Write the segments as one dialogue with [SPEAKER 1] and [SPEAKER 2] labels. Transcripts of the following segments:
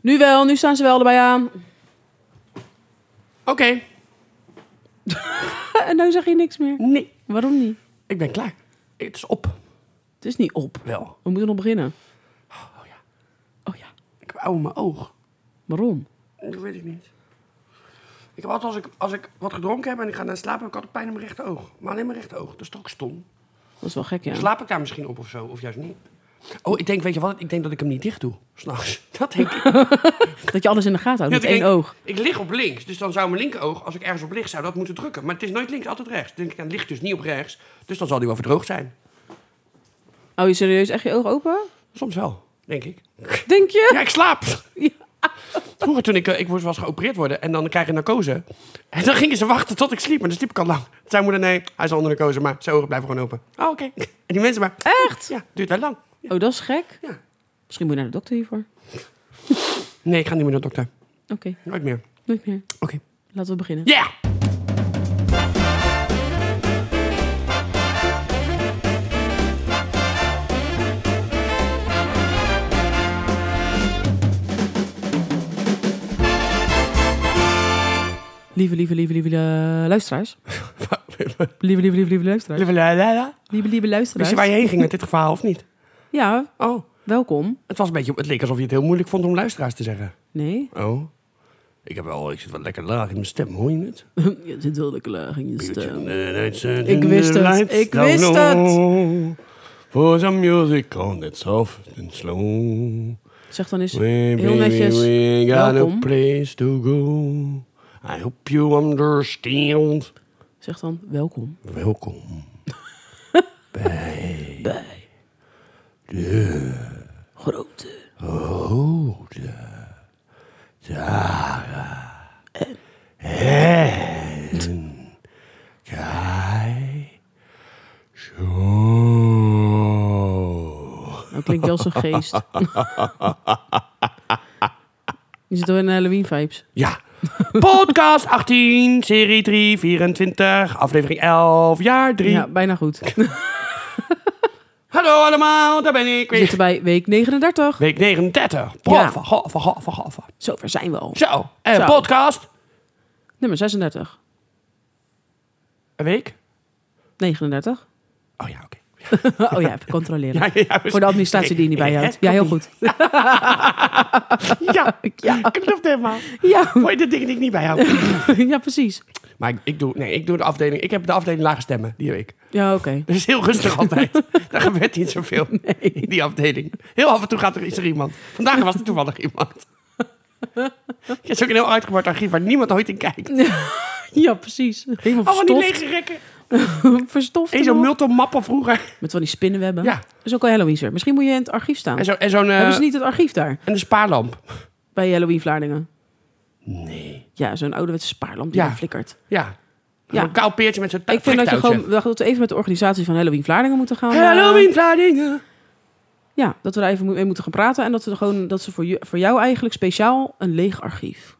[SPEAKER 1] Nu wel, nu staan ze wel erbij aan.
[SPEAKER 2] Oké,
[SPEAKER 1] En nu zeg je niks meer.
[SPEAKER 2] nee,
[SPEAKER 1] Waarom niet?
[SPEAKER 2] ik ben klaar. Het is op,
[SPEAKER 1] Het is niet op.
[SPEAKER 2] wel.
[SPEAKER 1] We moeten nog beginnen.
[SPEAKER 2] Oh ja,
[SPEAKER 1] Oh ja,
[SPEAKER 2] ik heb ouwe in mijn oog.
[SPEAKER 1] waarom?
[SPEAKER 2] Dat weet ik niet. Ik heb altijd, als ik, als ik wat gedronken heb en ik ga naar slapen, heb ik altijd pijn in mijn rechteroog. Maar alleen mijn rechteroog, dat is toch ook stom.
[SPEAKER 1] Dat is wel gek, ja.
[SPEAKER 2] Slaap ik daar misschien op of zo, of juist niet? Oh, ik denk, weet je wat? Ik denk dat ik hem niet dicht doe, s'nachts. Dat denk ik.
[SPEAKER 1] Dat je alles in de gaten houdt
[SPEAKER 2] Dat
[SPEAKER 1] met
[SPEAKER 2] ik
[SPEAKER 1] één
[SPEAKER 2] denk,
[SPEAKER 1] oog.
[SPEAKER 2] Ik lig op links, dus dan zou mijn linkeroog, als ik ergens op licht zou dat moeten drukken. Maar het is nooit links, altijd rechts. Dan denk ik, nou, het ligt dus niet op rechts, dus dan zal die wel verdroogd zijn.
[SPEAKER 1] Hou je serieus echt je oog open?
[SPEAKER 2] Soms wel, denk ik.
[SPEAKER 1] Denk je?
[SPEAKER 2] Ja, ik slaap.
[SPEAKER 1] Ja.
[SPEAKER 2] Vroeger toen ik, eh, ik moest was geopereerd worden en dan krijg je narcose. En dan gingen ze wachten tot ik sliep, maar dan sliep ik al lang. Toen zei moeder, nee, hij is al onder narcose, maar zijn ogen blijven gewoon open. Oh, oké. En die mensen maar,
[SPEAKER 1] Echt?
[SPEAKER 2] ja, duurt wel lang.
[SPEAKER 1] Oh, dat is gek.
[SPEAKER 2] Ja.
[SPEAKER 1] Misschien moet je naar de dokter hiervoor.
[SPEAKER 2] Nee, ik ga niet meer naar de dokter.
[SPEAKER 1] Oké,
[SPEAKER 2] Nooit meer.
[SPEAKER 1] nooit meer.
[SPEAKER 2] Oké.
[SPEAKER 1] Laten we beginnen.
[SPEAKER 2] Ja!
[SPEAKER 1] Lieve, lieve, lieve, lieve eh, luisteraars. Lieve, lieve, lieve, lieve luisteraars. Lieve, lieve
[SPEAKER 2] Wist je waar
[SPEAKER 1] luisteraars.
[SPEAKER 2] je heen ging met dit gevaar of niet?
[SPEAKER 1] Ja,
[SPEAKER 2] Oh,
[SPEAKER 1] welkom.
[SPEAKER 2] het, was een beetje, het leek alsof je het heel moeilijk vond om luisteraars te zeggen.
[SPEAKER 1] Nee.
[SPEAKER 2] Oh. Ik, heb wel, ik zit wel lekker laag in mijn stem, hoor je het?
[SPEAKER 1] Je zit wel de laag in je stem.
[SPEAKER 2] Ik
[SPEAKER 1] wist het, ik wist
[SPEAKER 2] het. For some music on that soft and slow.
[SPEAKER 1] Zeg dan eens,
[SPEAKER 2] We,
[SPEAKER 1] heel
[SPEAKER 2] baby,
[SPEAKER 1] netjes.
[SPEAKER 2] we got
[SPEAKER 1] Welkom.
[SPEAKER 2] a place to go. I hope you understand.
[SPEAKER 1] Zeg dan, welkom.
[SPEAKER 2] Welkom.
[SPEAKER 1] Bij. De. Grote.
[SPEAKER 2] En jij zo.
[SPEAKER 1] Nou klinkt wel als een geest. je zit al in Halloween vibes.
[SPEAKER 2] Ja. Podcast 18, serie 3, 24, aflevering 11, jaar 3.
[SPEAKER 1] Ja, bijna goed.
[SPEAKER 2] Hallo allemaal, daar ben ik
[SPEAKER 1] We
[SPEAKER 2] weer.
[SPEAKER 1] zitten bij week 39.
[SPEAKER 2] Week 39.
[SPEAKER 1] Ja.
[SPEAKER 2] Prof, ja. van
[SPEAKER 1] Zover zijn we al.
[SPEAKER 2] Zo, en
[SPEAKER 1] Zo.
[SPEAKER 2] podcast.
[SPEAKER 1] Nummer 36.
[SPEAKER 2] Een week?
[SPEAKER 1] 39.
[SPEAKER 2] Oh ja, oké.
[SPEAKER 1] Oh ja, even controleren.
[SPEAKER 2] Ja, ja,
[SPEAKER 1] Voor de administratie die je niet bijhoudt. Ja, heel goed.
[SPEAKER 2] Ja, ja. klopt helemaal.
[SPEAKER 1] Ja,
[SPEAKER 2] Voor de dingen die ik niet bijhoud.
[SPEAKER 1] ja precies.
[SPEAKER 2] Maar ik, ik doe, nee, ik doe de afdeling. Ik heb de afdeling lage stemmen die week.
[SPEAKER 1] Ja, oké.
[SPEAKER 2] Dat is heel rustig altijd. Daar gebeurt niet zoveel in die afdeling. Heel af en toe gaat er iets er iemand. Vandaag was er toevallig iemand. Het is ook een heel uitgebreid archief waar niemand ooit in kijkt.
[SPEAKER 1] Ja, precies. Helemaal
[SPEAKER 2] Allemaal Oh, die
[SPEAKER 1] verstopt.
[SPEAKER 2] lege rekken.
[SPEAKER 1] verstopt
[SPEAKER 2] En zo'n
[SPEAKER 1] allemaal.
[SPEAKER 2] multomappen vroeger.
[SPEAKER 1] Met van die spinnenwebben.
[SPEAKER 2] Ja.
[SPEAKER 1] Dat is ook al Halloween weer. Misschien moet je in het archief staan.
[SPEAKER 2] En zo'n... En, zo'n, eh,
[SPEAKER 1] Hebben ze niet het archief daar?
[SPEAKER 2] en de spaarlamp.
[SPEAKER 1] Bij Halloween Vlaardingen.
[SPEAKER 2] Nee.
[SPEAKER 1] Ja, zo'n ouderwetse spaarlamp die
[SPEAKER 2] Ja.
[SPEAKER 1] daar flikkert.
[SPEAKER 2] Ja.
[SPEAKER 1] Ja.
[SPEAKER 2] Een kaal peertje met zo'n
[SPEAKER 1] Ik vind dat je
[SPEAKER 2] trektouwtje.
[SPEAKER 1] gewoon dat we even met de organisatie van Halloween Vlaardingen moeten gaan. eh,
[SPEAKER 2] Halloween Vlaardingen.
[SPEAKER 1] Ja, dat we daar even mee moeten gaan praten. En dat, we er gewoon, dat ze voor, je- voor jou eigenlijk speciaal een leeg archief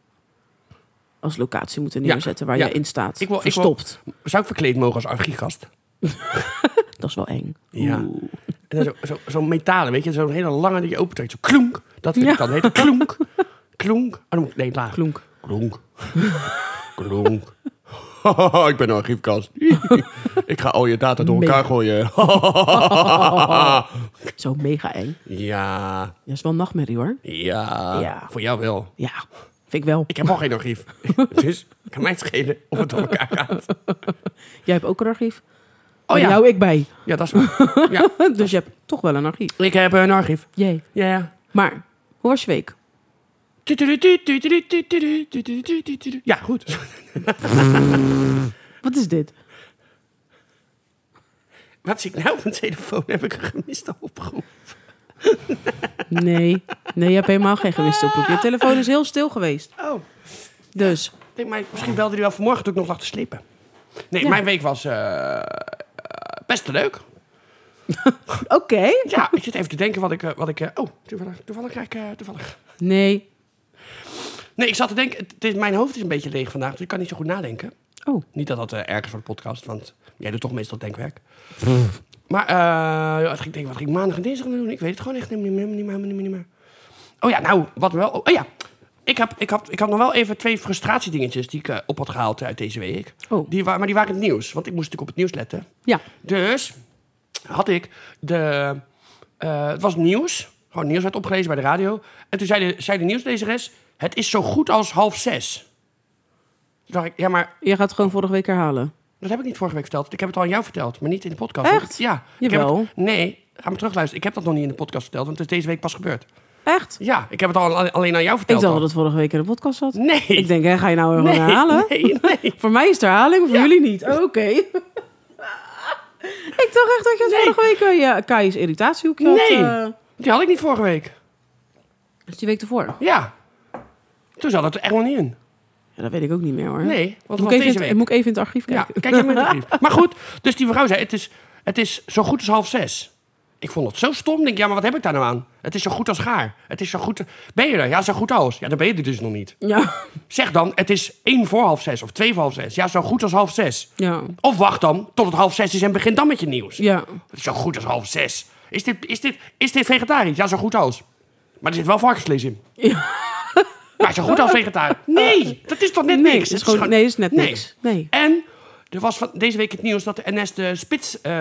[SPEAKER 1] als locatie moeten
[SPEAKER 2] Ja,
[SPEAKER 1] neerzetten waar
[SPEAKER 2] ja.
[SPEAKER 1] je in staat.
[SPEAKER 2] Ik wil- ik wil-
[SPEAKER 1] Verstopt.
[SPEAKER 2] Zou ik verkleed mogen als archiefgast?
[SPEAKER 1] Dat is wel eng.
[SPEAKER 2] Ja.
[SPEAKER 1] Oeh.
[SPEAKER 2] En dan zo- zo- zo'n metalen, weet je, zo'n hele lange die je opentrekt. Zo klonk. Dat vind ik
[SPEAKER 1] Ja.
[SPEAKER 2] dan. Heet het klonk. Klonk. Oh, dan moet ik, nee, laag.
[SPEAKER 1] Klonk.
[SPEAKER 2] Klonk. Klonk. ik ben een archiefkast. ik ga al je data door elkaar
[SPEAKER 1] Mega.
[SPEAKER 2] gooien.
[SPEAKER 1] Zo mega eng.
[SPEAKER 2] ja,
[SPEAKER 1] Dat is wel een nachtmerrie hoor.
[SPEAKER 2] ja,
[SPEAKER 1] Ja.
[SPEAKER 2] Voor jou wel.
[SPEAKER 1] Ja, vind ik wel.
[SPEAKER 2] Ik heb al geen archief. dus kan mij het schelen of het door elkaar gaat.
[SPEAKER 1] Jij hebt ook een archief.
[SPEAKER 2] Oh
[SPEAKER 1] Oh,
[SPEAKER 2] ja.
[SPEAKER 1] ja. jou ik bij.
[SPEAKER 2] Ja, dat is waar. Ja.
[SPEAKER 1] dus je hebt toch wel een archief.
[SPEAKER 2] Ik heb een archief.
[SPEAKER 1] Jee.
[SPEAKER 2] Ja, ja.
[SPEAKER 1] Maar, hoe was je week?
[SPEAKER 2] Ja, goed.
[SPEAKER 1] Wat is dit?
[SPEAKER 2] Wat zie ik nou op mijn telefoon? Heb ik een gemiste opgeroep?
[SPEAKER 1] Nee, nee, je hebt helemaal geen gewist oproep. Je telefoon is heel stil geweest.
[SPEAKER 2] Oh,
[SPEAKER 1] Dus,
[SPEAKER 2] ik denk, maar misschien belde hij wel vanmorgen toen ik nog lag te slapen. Nee,
[SPEAKER 1] Ja.
[SPEAKER 2] mijn week was eh, eh, best leuk.
[SPEAKER 1] oké.
[SPEAKER 2] Ja, ik zit even te denken wat ik... eh, Wat ik eh, oh, toevallig, toevallig krijg ik... eh, toevallig.
[SPEAKER 1] Nee.
[SPEAKER 2] Nee, ik zat te denken... Het is, mijn hoofd is een beetje leeg vandaag, dus ik kan niet zo goed nadenken.
[SPEAKER 1] Oh,
[SPEAKER 2] Niet dat dat eh, erg is voor de podcast, want jij doet toch meestal denkwerk. Maar eh, wat ging ik denken, wat ging ik maandag en dinsdag doen? Ik weet het gewoon echt niet meer. Niet meer, niet meer, niet meer. Oh ja, nou, wat wel. Oh ja, ik, heb, ik, had, ik had nog wel even twee frustratiedingetjes die ik eh, op had gehaald uit deze week.
[SPEAKER 1] Oh.
[SPEAKER 2] Die wa- maar die waren in het nieuws, want ik moest natuurlijk op het nieuws letten.
[SPEAKER 1] Ja.
[SPEAKER 2] Dus had ik de. eh, het was nieuws. Gewoon nieuws werd opgelezen bij de radio. En toen zei de, zei de nieuwslezeres: Het is zo goed als half zes. Toen dacht ik: Ja, maar
[SPEAKER 1] Je gaat het gewoon vorige week herhalen.
[SPEAKER 2] dat heb ik niet vorige week verteld. Ik heb het al aan jou verteld, maar niet in de podcast.
[SPEAKER 1] Echt?
[SPEAKER 2] Ja. Ik
[SPEAKER 1] Jawel.
[SPEAKER 2] heb het- nee, ga maar terugluisteren. Ik heb dat nog niet in de podcast verteld, want het is deze week pas gebeurd.
[SPEAKER 1] Echt?
[SPEAKER 2] Ja, ik heb het al alleen- alleen aan jou
[SPEAKER 1] Ik
[SPEAKER 2] verteld.
[SPEAKER 1] dacht dat
[SPEAKER 2] al.
[SPEAKER 1] het vorige week in de podcast zat.
[SPEAKER 2] Nee.
[SPEAKER 1] Ik denk, hè, ga je nou weer
[SPEAKER 2] nee,
[SPEAKER 1] gewoon herhalen?
[SPEAKER 2] Nee, nee.
[SPEAKER 1] Voor mij is het herhaling, voor
[SPEAKER 2] Ja.
[SPEAKER 1] jullie niet. Oké. ik dacht echt dat je het
[SPEAKER 2] Nee.
[SPEAKER 1] vorige week... eh, Ja, Kai's irritatiehoekje had.
[SPEAKER 2] Nee.
[SPEAKER 1] eh,
[SPEAKER 2] Die had ik niet vorige week.
[SPEAKER 1] dus die week ervoor.
[SPEAKER 2] Ja. Toen zat het er echt nog niet in.
[SPEAKER 1] Ja, dat weet ik ook niet meer hoor.
[SPEAKER 2] Nee, want het
[SPEAKER 1] Moet
[SPEAKER 2] was
[SPEAKER 1] ik, even
[SPEAKER 2] deze
[SPEAKER 1] in,
[SPEAKER 2] week.
[SPEAKER 1] het- moet ik even in het archief
[SPEAKER 2] Ja,
[SPEAKER 1] kijken.
[SPEAKER 2] kijk je met de brief. Maar goed, dus die vrouw zei, het is, het is zo goed als half zes. Ik vond dat zo stom. Ik Denk, ja, maar wat heb ik daar nou aan? Het is zo goed als gaar. Het is zo goed... Ben je er? Ja, zo goed als. Ja, dan ben je er dus nog niet.
[SPEAKER 1] Ja. ja.
[SPEAKER 2] Zeg dan, het is één voor half zes of twee voor half zes. Ja, zo goed als half zes. Of wacht dan tot het half zes is en begin dan met je nieuws.
[SPEAKER 1] Ja.
[SPEAKER 2] Het is zo goed als half zes. Is dit, is dit, is dit vegetarisch? Ja, zo goed als. Maar er zit wel varkensvlees in. Maar zo goed als vegetarisch. Nee, dat is toch net
[SPEAKER 1] Nee,
[SPEAKER 2] niks?
[SPEAKER 1] het is gewoon- nee, is net niks. Nee.
[SPEAKER 2] En er was van deze week het nieuws dat de NS de spits, eh,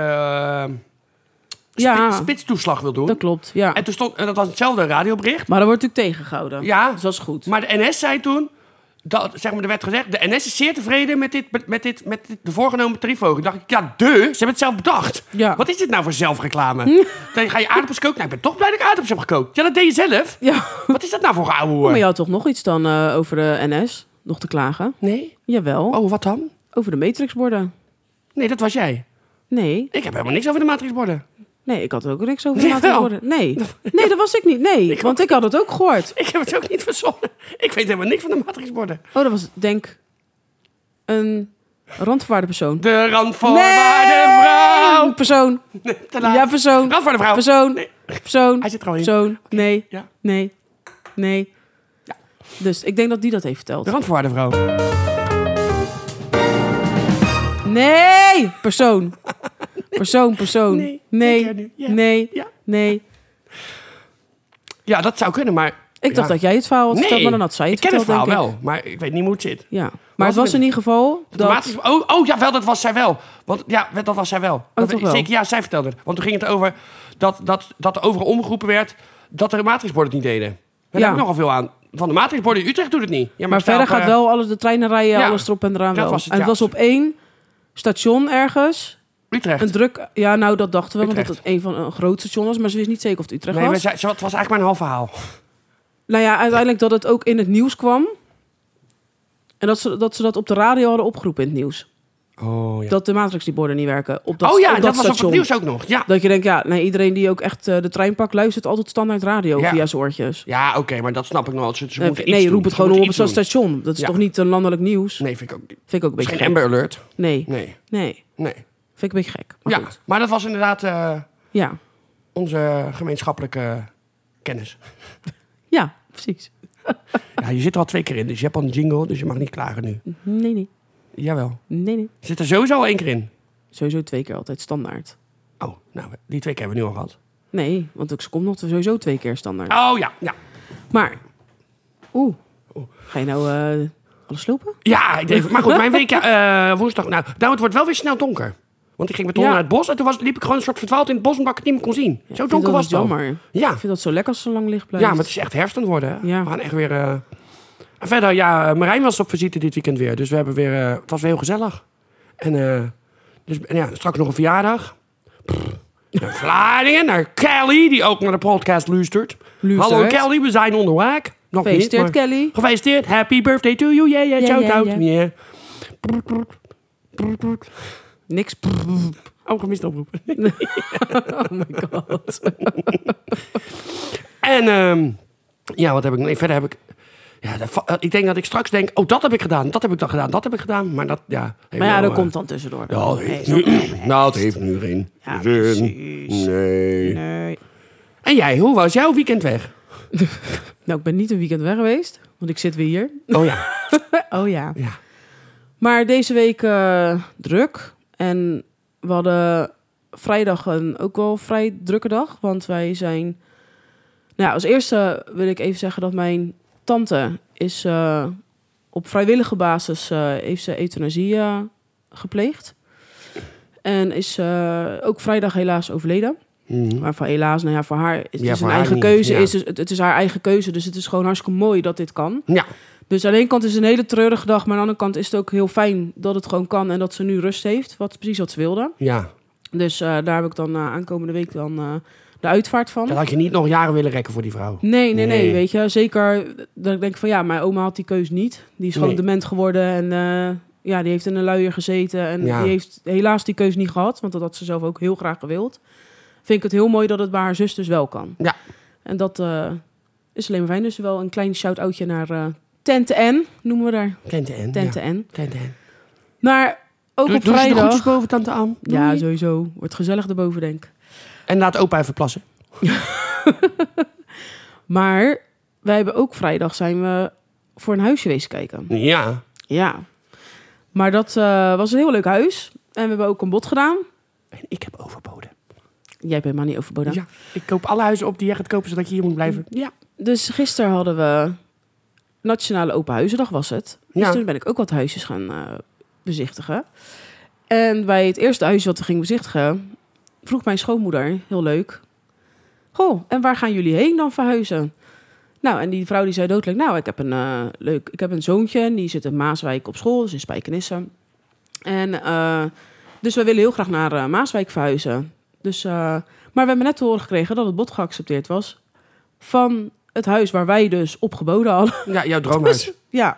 [SPEAKER 1] Ja,
[SPEAKER 2] spi- spitstoeslag wil doen.
[SPEAKER 1] dat klopt. Ja.
[SPEAKER 2] En toen stond, en dat was hetzelfde radiobericht.
[SPEAKER 1] Maar dat wordt natuurlijk tegengehouden.
[SPEAKER 2] Ja.
[SPEAKER 1] Dus dat is goed.
[SPEAKER 2] Maar de NS zei toen, dat, zeg maar, er werd gezegd, de NS is zeer tevreden met, dit, met, met dit, met dit, de voorgenomen tariefverhoging. Dacht ik, ja, de, ze hebben het zelf bedacht.
[SPEAKER 1] Ja. Mm.
[SPEAKER 2] Wat is dit nou voor zelfreclame? Dan ga je aardappels koken. Nou, ik ben toch blij dat ik aardappels heb gekookt. Ja, dat deed je zelf.
[SPEAKER 1] Ja.
[SPEAKER 2] Wat is dat nou voor ouwe hoor?
[SPEAKER 1] Oh, Maar je had toch nog iets dan eh, over de NS? Nog te klagen?
[SPEAKER 2] Nee?
[SPEAKER 1] Jawel.
[SPEAKER 2] Oh, wat dan?
[SPEAKER 1] Over de matrixborden.
[SPEAKER 2] Nee, dat was jij.
[SPEAKER 1] Nee.
[SPEAKER 2] Ik heb helemaal niks over de matrixborden.
[SPEAKER 1] Nee, ik had ook niks over de
[SPEAKER 2] Nee,
[SPEAKER 1] matrixborden. Nee. Nee, dat was ik niet. Nee, want ik had het ook gehoord.
[SPEAKER 2] Ik heb het ook niet verzonnen. Ik weet helemaal niks van de matrixborden.
[SPEAKER 1] Oh, dat was denk een randverwaarde persoon.
[SPEAKER 2] De randvoorwaarde Oh, vrouw.
[SPEAKER 1] Persoon.
[SPEAKER 2] Te laat.
[SPEAKER 1] Ja, persoon.
[SPEAKER 2] Randvoorwaarde vrouw.
[SPEAKER 1] Persoon.
[SPEAKER 2] Nee.
[SPEAKER 1] Persoon.
[SPEAKER 2] Hij zit er al in.
[SPEAKER 1] Persoon. Nee.
[SPEAKER 2] Ja.
[SPEAKER 1] Nee. Nee. Dus ik denk dat die dat heeft verteld.
[SPEAKER 2] De randvoorwaarde vrouw.
[SPEAKER 1] Nee, persoon. Persoon, persoon.
[SPEAKER 2] Nee,
[SPEAKER 1] nee,
[SPEAKER 2] zeker nu. Ja.
[SPEAKER 1] nee,
[SPEAKER 2] Ja.
[SPEAKER 1] nee.
[SPEAKER 2] Ja, dat zou kunnen, maar...
[SPEAKER 1] Ik dacht dat jij het verhaal had
[SPEAKER 2] Nee,
[SPEAKER 1] verteld, maar dan had zij het
[SPEAKER 2] ik ken het
[SPEAKER 1] verteld,
[SPEAKER 2] verhaal
[SPEAKER 1] denk ik.
[SPEAKER 2] wel, maar ik weet niet hoe het zit.
[SPEAKER 1] Ja, maar het
[SPEAKER 2] was
[SPEAKER 1] was
[SPEAKER 2] het?
[SPEAKER 1] in ieder geval
[SPEAKER 2] De
[SPEAKER 1] dat...
[SPEAKER 2] matrix- oh, oh, jawel, dat was zij wel. Want, ja, dat was zij wel. dat,
[SPEAKER 1] Oh, toch wel?
[SPEAKER 2] Zeker, ja, zij vertelde het. Want toen ging het over dat, dat, dat er overal omgeroepen werd dat de matrixborden het niet deden. Daar
[SPEAKER 1] Ja.
[SPEAKER 2] heb ik nogal veel aan. Van de matrixborden in Utrecht doet het niet. Ja,
[SPEAKER 1] Maar
[SPEAKER 2] het staat
[SPEAKER 1] verder
[SPEAKER 2] op,
[SPEAKER 1] gaat
[SPEAKER 2] eh,
[SPEAKER 1] wel alles, de treinen rijden,
[SPEAKER 2] Ja,
[SPEAKER 1] alles erop en eraan
[SPEAKER 2] dat
[SPEAKER 1] wel.
[SPEAKER 2] was het,
[SPEAKER 1] en het
[SPEAKER 2] ja.
[SPEAKER 1] was op één station ergens.
[SPEAKER 2] Utrecht.
[SPEAKER 1] Een druk... Ja, nou, dat dachten we, want dat
[SPEAKER 2] Utrecht.
[SPEAKER 1] het een van een groot station was. Maar ze wist niet zeker of het Utrecht
[SPEAKER 2] Nee, maar
[SPEAKER 1] was.
[SPEAKER 2] zij, ze- het was eigenlijk maar een half verhaal.
[SPEAKER 1] Nou ja, uiteindelijk dat het ook in het nieuws kwam. En dat ze, dat ze dat op de radio hadden opgeroepen in het nieuws.
[SPEAKER 2] Oh ja,
[SPEAKER 1] Dat de matrix die borden niet werken op dat
[SPEAKER 2] oh, ja
[SPEAKER 1] op
[SPEAKER 2] dat,
[SPEAKER 1] dat,
[SPEAKER 2] was op het
[SPEAKER 1] station.
[SPEAKER 2] nieuws ook nog. Ja,
[SPEAKER 1] Dat je denkt, ja, nee, iedereen die ook echt eh, de trein pakt, luistert altijd standaard radio
[SPEAKER 2] Ja.
[SPEAKER 1] via zijn oortjes.
[SPEAKER 2] ja oké, maar dat snap ik nog wel. Ze, ze
[SPEAKER 1] Eh,
[SPEAKER 2] moeten
[SPEAKER 1] nee,
[SPEAKER 2] iets
[SPEAKER 1] roep
[SPEAKER 2] doen.
[SPEAKER 1] het
[SPEAKER 2] Ze
[SPEAKER 1] gewoon op op
[SPEAKER 2] moeten
[SPEAKER 1] zo'n
[SPEAKER 2] iets doen.
[SPEAKER 1] station. Dat is
[SPEAKER 2] Ja.
[SPEAKER 1] toch niet een landelijk nieuws?
[SPEAKER 2] Nee, vind ik ook niet.
[SPEAKER 1] Vind ik ook een
[SPEAKER 2] Het
[SPEAKER 1] beetje gek.
[SPEAKER 2] is geen Amber Alert.
[SPEAKER 1] Nee.
[SPEAKER 2] Nee,
[SPEAKER 1] nee,
[SPEAKER 2] nee.
[SPEAKER 1] vind ik een beetje gek. Maar
[SPEAKER 2] ja,
[SPEAKER 1] goed.
[SPEAKER 2] maar dat was inderdaad eh,
[SPEAKER 1] Ja.
[SPEAKER 2] onze gemeenschappelijke kennis.
[SPEAKER 1] ja, precies.
[SPEAKER 2] Ja, je zit er al twee keer in, dus je hebt al een jingle, dus je mag niet klagen nu.
[SPEAKER 1] Nee, nee,
[SPEAKER 2] Jawel.
[SPEAKER 1] nee, nee.
[SPEAKER 2] Je zit er sowieso al één keer in.
[SPEAKER 1] Sowieso twee keer altijd standaard.
[SPEAKER 2] Oh, nou, die twee keer hebben we nu al gehad.
[SPEAKER 1] Nee, want ik kom nog sowieso twee keer standaard.
[SPEAKER 2] Oh ja, ja.
[SPEAKER 1] Maar, oeh,
[SPEAKER 2] Oh.
[SPEAKER 1] ga je nou eh, alles lopen?
[SPEAKER 2] Ja, ik denk, maar goed, mijn week eh, woensdag. Nou, nou, het wordt wel weer snel donker. Want ik ging met Ton
[SPEAKER 1] Ja.
[SPEAKER 2] naar het bos en toen was, liep ik gewoon een soort verdwaald in het bos omdat ik het niet meer kon zien. Zo
[SPEAKER 1] Ik vind
[SPEAKER 2] donker
[SPEAKER 1] dat
[SPEAKER 2] was
[SPEAKER 1] dus
[SPEAKER 2] het al.
[SPEAKER 1] jammer.
[SPEAKER 2] Ja.
[SPEAKER 1] Ik vind dat zo lekker als het zo lang licht blijft.
[SPEAKER 2] Ja, maar het is echt herfst aan het worden. Hè?
[SPEAKER 1] Ja.
[SPEAKER 2] We gaan echt weer... eh, En verder, ja, eh, Marijn was op visite dit weekend weer. Dus we hebben weer... eh, het was weer heel gezellig. En, eh, dus, en ja, straks nog een verjaardag. Pff, Naar Vlaardingen, naar Kelly, die ook naar de podcast luistert.
[SPEAKER 1] Luistert.
[SPEAKER 2] Hallo Kelly, we zijn onderweg. Nog
[SPEAKER 1] Gefeliciteerd,
[SPEAKER 2] niet, maar-
[SPEAKER 1] Kelly.
[SPEAKER 2] Gefeliciteerd, happy birthday to you. Yeah, yeah,
[SPEAKER 1] Ja,
[SPEAKER 2] shout
[SPEAKER 1] ja,
[SPEAKER 2] out.
[SPEAKER 1] ja.
[SPEAKER 2] Yeah. Brr, brr, brr, brr.
[SPEAKER 1] Niks.
[SPEAKER 2] Oh, gemist oproep.
[SPEAKER 1] Oh my god.
[SPEAKER 2] En ehm, ja, wat heb ik nee, verder heb ik. Ja, dat va- eh, ik denk dat ik straks denk, oh, dat heb ik gedaan, dat heb ik dan gedaan, dat heb ik gedaan. Maar dat, ja. eh,
[SPEAKER 1] Maar ja,
[SPEAKER 2] dat
[SPEAKER 1] dat komt dan tussendoor.
[SPEAKER 2] Ja, het
[SPEAKER 1] nee,
[SPEAKER 2] heeft nu, nou, het heeft nu geen
[SPEAKER 1] Ja,
[SPEAKER 2] zin.
[SPEAKER 1] precies.
[SPEAKER 2] Nee.
[SPEAKER 1] nee.
[SPEAKER 2] En jij, hoe was jouw weekend weg?
[SPEAKER 1] Nou, ik ben niet een weekend weg geweest, want ik zit weer hier.
[SPEAKER 2] Oh ja.
[SPEAKER 1] Oh ja.
[SPEAKER 2] ja.
[SPEAKER 1] Maar deze week eh, druk. En we hadden vrijdag een ook wel vrij drukke dag, want wij zijn... Nou, als eerste wil ik even zeggen dat mijn tante is eh, op vrijwillige basis eh, heeft ze euthanasie eh, gepleegd. En is eh, ook vrijdag helaas overleden.
[SPEAKER 2] Mhm.
[SPEAKER 1] Waarvan helaas, nou ja, voor haar het
[SPEAKER 2] Ja,
[SPEAKER 1] is
[SPEAKER 2] voor
[SPEAKER 1] een
[SPEAKER 2] haar
[SPEAKER 1] eigen
[SPEAKER 2] niet,
[SPEAKER 1] keuze.
[SPEAKER 2] ja.
[SPEAKER 1] Is, dus- het, het is haar eigen keuze, dus het is gewoon hartstikke mooi dat dit kan.
[SPEAKER 2] Ja,
[SPEAKER 1] Dus aan de ene kant is het een hele treurige dag, maar aan de andere kant is het ook heel fijn dat het gewoon kan en dat ze nu rust heeft. Wat precies wat ze wilde.
[SPEAKER 2] ja.
[SPEAKER 1] Dus eh, daar heb ik dan eh, aankomende week dan eh, de uitvaart van.
[SPEAKER 2] Dat had je niet nog jaren willen rekken voor die vrouw.
[SPEAKER 1] Nee, nee, nee,
[SPEAKER 2] Nee.
[SPEAKER 1] Weet je, zeker dat ik denk van ja, mijn oma had die keus niet. Die is gewoon
[SPEAKER 2] Nee.
[SPEAKER 1] dement geworden en eh, ja, die heeft in een luier gezeten. En
[SPEAKER 2] Ja.
[SPEAKER 1] die heeft helaas die keus niet gehad, want dat had ze zelf ook heel graag gewild. Vind ik het heel mooi dat het bij haar zus dus wel kan.
[SPEAKER 2] Ja.
[SPEAKER 1] En dat eh, is alleen maar fijn. Dus wel een klein shout-outje naar eh, Tante N, noemen we daar.
[SPEAKER 2] Tante N.
[SPEAKER 1] Tante
[SPEAKER 2] ja.
[SPEAKER 1] N.
[SPEAKER 2] Tante N.
[SPEAKER 1] Maar ook
[SPEAKER 2] Doe,
[SPEAKER 1] op
[SPEAKER 2] doe ze de groetjes
[SPEAKER 1] vrijdag...
[SPEAKER 2] boven Tante Ann. Doei.
[SPEAKER 1] Ja, sowieso. Wordt gezellig erboven, denk ik.
[SPEAKER 2] En laat opa even plassen.
[SPEAKER 1] Maar wij hebben ook vrijdag zijn we voor een huisje wezen kijken.
[SPEAKER 2] Ja.
[SPEAKER 1] Ja. Maar dat eh, was een heel leuk huis. En we hebben ook een bod gedaan.
[SPEAKER 2] En ik heb overboden.
[SPEAKER 1] Jij bent maar niet overbodig.
[SPEAKER 2] Ja. Ik koop alle huizen op die jij gaat kopen, zodat je hier moet blijven.
[SPEAKER 1] Ja. Dus gisteren hadden we Nationale Open Huizendag was het. Dus
[SPEAKER 2] Ja.
[SPEAKER 1] toen ben ik ook wat huisjes gaan eh, bezichtigen. En bij het eerste huisje wat we gingen bezichtigen, vroeg mijn schoonmoeder, heel leuk. Goh, en waar gaan jullie heen dan verhuizen? Nou, en die vrouw die zei doodelijk, nou, ik heb een, eh, leuk, ik heb een zoontje, en die zit in Maaswijk op school, dus in Spijkenisse. En eh, dus we willen heel graag naar eh, Maaswijk verhuizen. Dus, eh, maar we hebben net te horen gekregen dat het bod geaccepteerd was van het huis waar wij dus op geboden hadden.
[SPEAKER 2] Ja, jouw droomhuis.
[SPEAKER 1] Ja.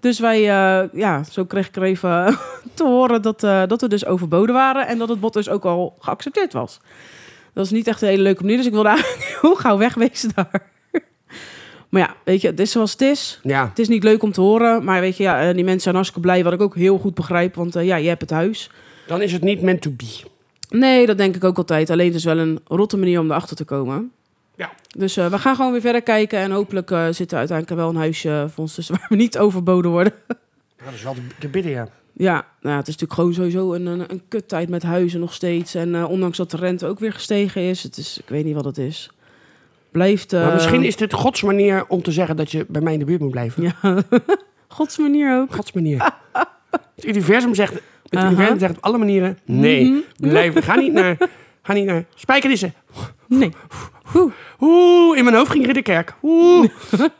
[SPEAKER 1] Dus wij, eh, ja, zo kreeg ik er even te horen dat, eh, dat we dus overboden waren en dat het bod dus ook al geaccepteerd was. Dat is niet echt een hele leuke manier, dus ik wilde eigenlijk heel gauw wegwezen daar. Maar ja, weet je, het is zoals het is.
[SPEAKER 2] Ja.
[SPEAKER 1] Het is niet leuk om te horen, maar weet je, ja, eh, die mensen zijn hartstikke blij, wat ik ook heel goed begrijp, want eh, ja, je hebt het huis.
[SPEAKER 2] Dan is het niet meant to be.
[SPEAKER 1] Nee, dat denk ik ook altijd. Alleen het is wel een rotte manier om erachter te komen.
[SPEAKER 2] Ja.
[SPEAKER 1] Dus eh, we gaan gewoon weer verder kijken en hopelijk eh, zit er uiteindelijk wel een huisje voor ons tussen waar we niet overboden worden.
[SPEAKER 2] Dat is wel te te bidden, ja.
[SPEAKER 1] Ja, nou, ja, het is natuurlijk gewoon sowieso een, een, een kuttijd met huizen nog steeds. En eh, ondanks dat de rente ook weer gestegen is, het is ik weet niet wat het is. Blijft. eh,
[SPEAKER 2] Maar misschien is dit Gods manier om te zeggen dat je bij mij in de buurt moet blijven.
[SPEAKER 1] Ja, gods manier ook.
[SPEAKER 2] Gods manier. Het universum zegt, het
[SPEAKER 1] Aha.
[SPEAKER 2] universum zegt op alle manieren, nee,
[SPEAKER 1] Mhm.
[SPEAKER 2] blijf, ga niet naar, ga niet naar Spijkenissen.
[SPEAKER 1] Nee. Oeh,
[SPEAKER 2] Oeh, in mijn hoofd ging Ridderkerk. Oeh.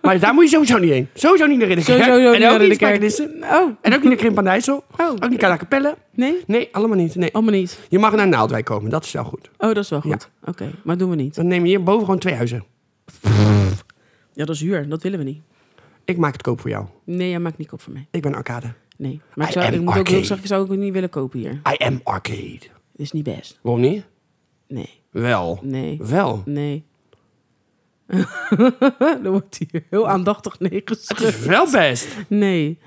[SPEAKER 2] maar daar moet je sowieso niet heen. Sowieso niet naar Ridderkerk.
[SPEAKER 1] Sowieso niet
[SPEAKER 2] en
[SPEAKER 1] naar
[SPEAKER 2] ook niet
[SPEAKER 1] Ridderkerk.
[SPEAKER 2] Spijkenissen.
[SPEAKER 1] Oh,
[SPEAKER 2] En ook niet naar Krimp aan de IJssel.
[SPEAKER 1] oh.
[SPEAKER 2] Ook niet naar Capelle.
[SPEAKER 1] Nee?
[SPEAKER 2] Nee, allemaal niet. Nee.
[SPEAKER 1] Allemaal niet.
[SPEAKER 2] Je mag naar Naaldwijk komen, dat is wel goed.
[SPEAKER 1] Oh, dat is wel
[SPEAKER 2] Ja.
[SPEAKER 1] goed. Oké, maar doen we niet.
[SPEAKER 2] Dan neem je hierboven gewoon twee huizen.
[SPEAKER 1] Ja, dat is huur. Dat willen we niet.
[SPEAKER 2] Ik maak het koop voor jou.
[SPEAKER 1] Nee, jij maakt niet op voor mij.
[SPEAKER 2] Ik ben arcade.
[SPEAKER 1] Nee. Maar ik,
[SPEAKER 2] I
[SPEAKER 1] zou,
[SPEAKER 2] am
[SPEAKER 1] ik moet ook heel
[SPEAKER 2] arcade.
[SPEAKER 1] zeggen, ik zou ook niet willen kopen hier.
[SPEAKER 2] I am arcade.
[SPEAKER 1] Het is niet best.
[SPEAKER 2] Waarom niet?
[SPEAKER 1] Nee,
[SPEAKER 2] Wel.
[SPEAKER 1] nee,
[SPEAKER 2] Wel.
[SPEAKER 1] nee. Dan wordt hier heel aandachtig nee
[SPEAKER 2] Het
[SPEAKER 1] geschud.
[SPEAKER 2] is wel best.
[SPEAKER 1] Nee.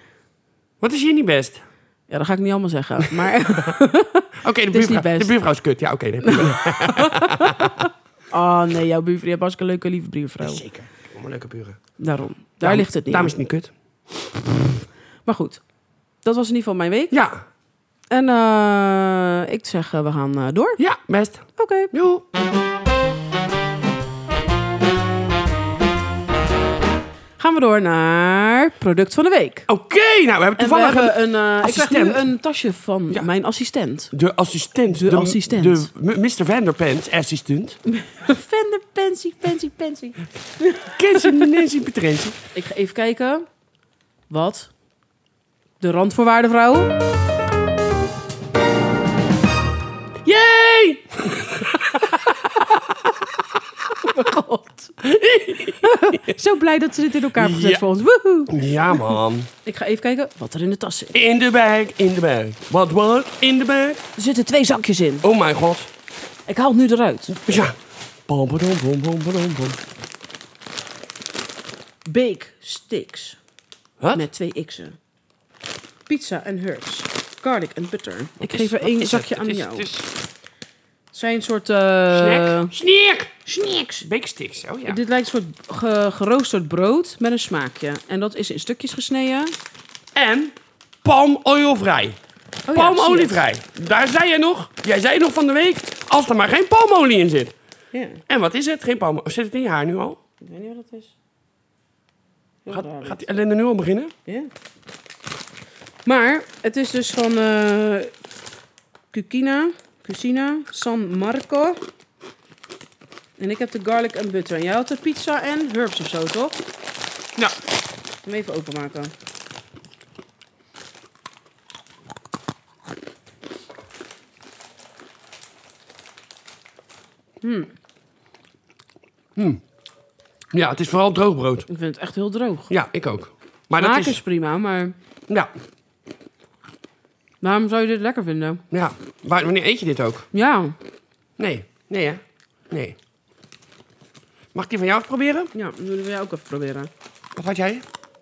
[SPEAKER 2] Wat is hier niet best?
[SPEAKER 1] Ja, dat ga ik niet allemaal zeggen. Maar
[SPEAKER 2] Oké, de,
[SPEAKER 1] is niet
[SPEAKER 2] buurvrouw-
[SPEAKER 1] best.
[SPEAKER 2] de buurvrouw is kut. Ja, oké. nee, prima.
[SPEAKER 1] oh nee, jouw buurvrouw heeft hartstikke leuke lieve buurvrouw.
[SPEAKER 2] Zeker. Allemaal leuke buren.
[SPEAKER 1] Daarom. Daar
[SPEAKER 2] Daarom-
[SPEAKER 1] ligt het niet.
[SPEAKER 2] Daarom is
[SPEAKER 1] aan.
[SPEAKER 2] het niet kut.
[SPEAKER 1] Maar goed, dat was in ieder geval mijn week.
[SPEAKER 2] Ja.
[SPEAKER 1] En eh, ik zeg, eh, we gaan eh, door.
[SPEAKER 2] Ja, best.
[SPEAKER 1] Oké.
[SPEAKER 2] Joe.
[SPEAKER 1] Gaan we door naar product van de week.
[SPEAKER 2] Oké, nou, we hebben
[SPEAKER 1] En we
[SPEAKER 2] toevallig
[SPEAKER 1] hebben een, eh, ik krijg nu
[SPEAKER 2] assistent.
[SPEAKER 1] een tasje van
[SPEAKER 2] Ja.
[SPEAKER 1] mijn assistent.
[SPEAKER 2] een- de assistent.
[SPEAKER 1] De assistent.
[SPEAKER 2] De m- Mr. Vanderpants assistent.
[SPEAKER 1] Vender, pensie, pensie, pensie.
[SPEAKER 2] Kenzie Nancy Petrentie.
[SPEAKER 1] Ik ga even kijken. Wat? De randvoorwaardenvrouw?
[SPEAKER 2] Yay!
[SPEAKER 1] God. Zo blij dat ze dit in elkaar hebben gezet
[SPEAKER 2] Ja.
[SPEAKER 1] voor ons. Woehoe.
[SPEAKER 2] Ja, man.
[SPEAKER 1] Ik ga even kijken wat er in de tas zit.
[SPEAKER 2] In de bag, in de bag. Wat, wat? In de bag.
[SPEAKER 1] Er zitten twee zakjes in.
[SPEAKER 2] Oh mijn god.
[SPEAKER 1] Ik haal het nu eruit.
[SPEAKER 2] Ja. Bom, bom, bom, bom, bom, bom.
[SPEAKER 1] Bake sticks
[SPEAKER 2] Wat?
[SPEAKER 1] met twee x'en. Pizza en herbs. Garlic en butter. ik
[SPEAKER 2] is-
[SPEAKER 1] geef er
[SPEAKER 2] wat
[SPEAKER 1] één
[SPEAKER 2] is
[SPEAKER 1] zakje
[SPEAKER 2] het?
[SPEAKER 1] aan
[SPEAKER 2] Het is-
[SPEAKER 1] jou.
[SPEAKER 2] het is
[SPEAKER 1] Het zijn een soort... eh,
[SPEAKER 2] Snack. Snack.
[SPEAKER 1] Snacks.
[SPEAKER 2] Bake sticks, oh ja.
[SPEAKER 1] Dit lijkt een soort ge- geroosterd brood met een smaakje. En dat is in stukjes gesneden.
[SPEAKER 2] En palmoilvrij.
[SPEAKER 1] Oh ja,
[SPEAKER 2] palmolievrij. Daar zei je nog, jij zei nog van de week, als er maar geen palmolie in zit.
[SPEAKER 1] Oh Ja.
[SPEAKER 2] En wat is het? Geen palmolie. Zit het in je haar nu al?
[SPEAKER 1] Ik weet niet wat dat is. Heel raar
[SPEAKER 2] Gaat,
[SPEAKER 1] dit.
[SPEAKER 2] gaat die ellende nu al beginnen?
[SPEAKER 1] Ja. Maar het is dus van eh Cucina, Cucina, San Marco. En ik heb de garlic en butter. En jij had de pizza en herbs of zo, toch?
[SPEAKER 2] Ja.
[SPEAKER 1] Hem even openmaken.
[SPEAKER 2] Ja, het is vooral droog brood.
[SPEAKER 1] Ik vind het echt heel droog.
[SPEAKER 2] Ja, ik ook. Maar
[SPEAKER 1] Maak
[SPEAKER 2] dat
[SPEAKER 1] is...
[SPEAKER 2] is...
[SPEAKER 1] prima, maar
[SPEAKER 2] Ja,
[SPEAKER 1] waarom zou je dit lekker vinden?
[SPEAKER 2] ja. Waar- wanneer eet je dit ook?
[SPEAKER 1] Ja,
[SPEAKER 2] Nee. Nee, hè? Nee. Mag ik die van jou even proberen?
[SPEAKER 1] ja dat willen jij ook even proberen.
[SPEAKER 2] Wat had jij?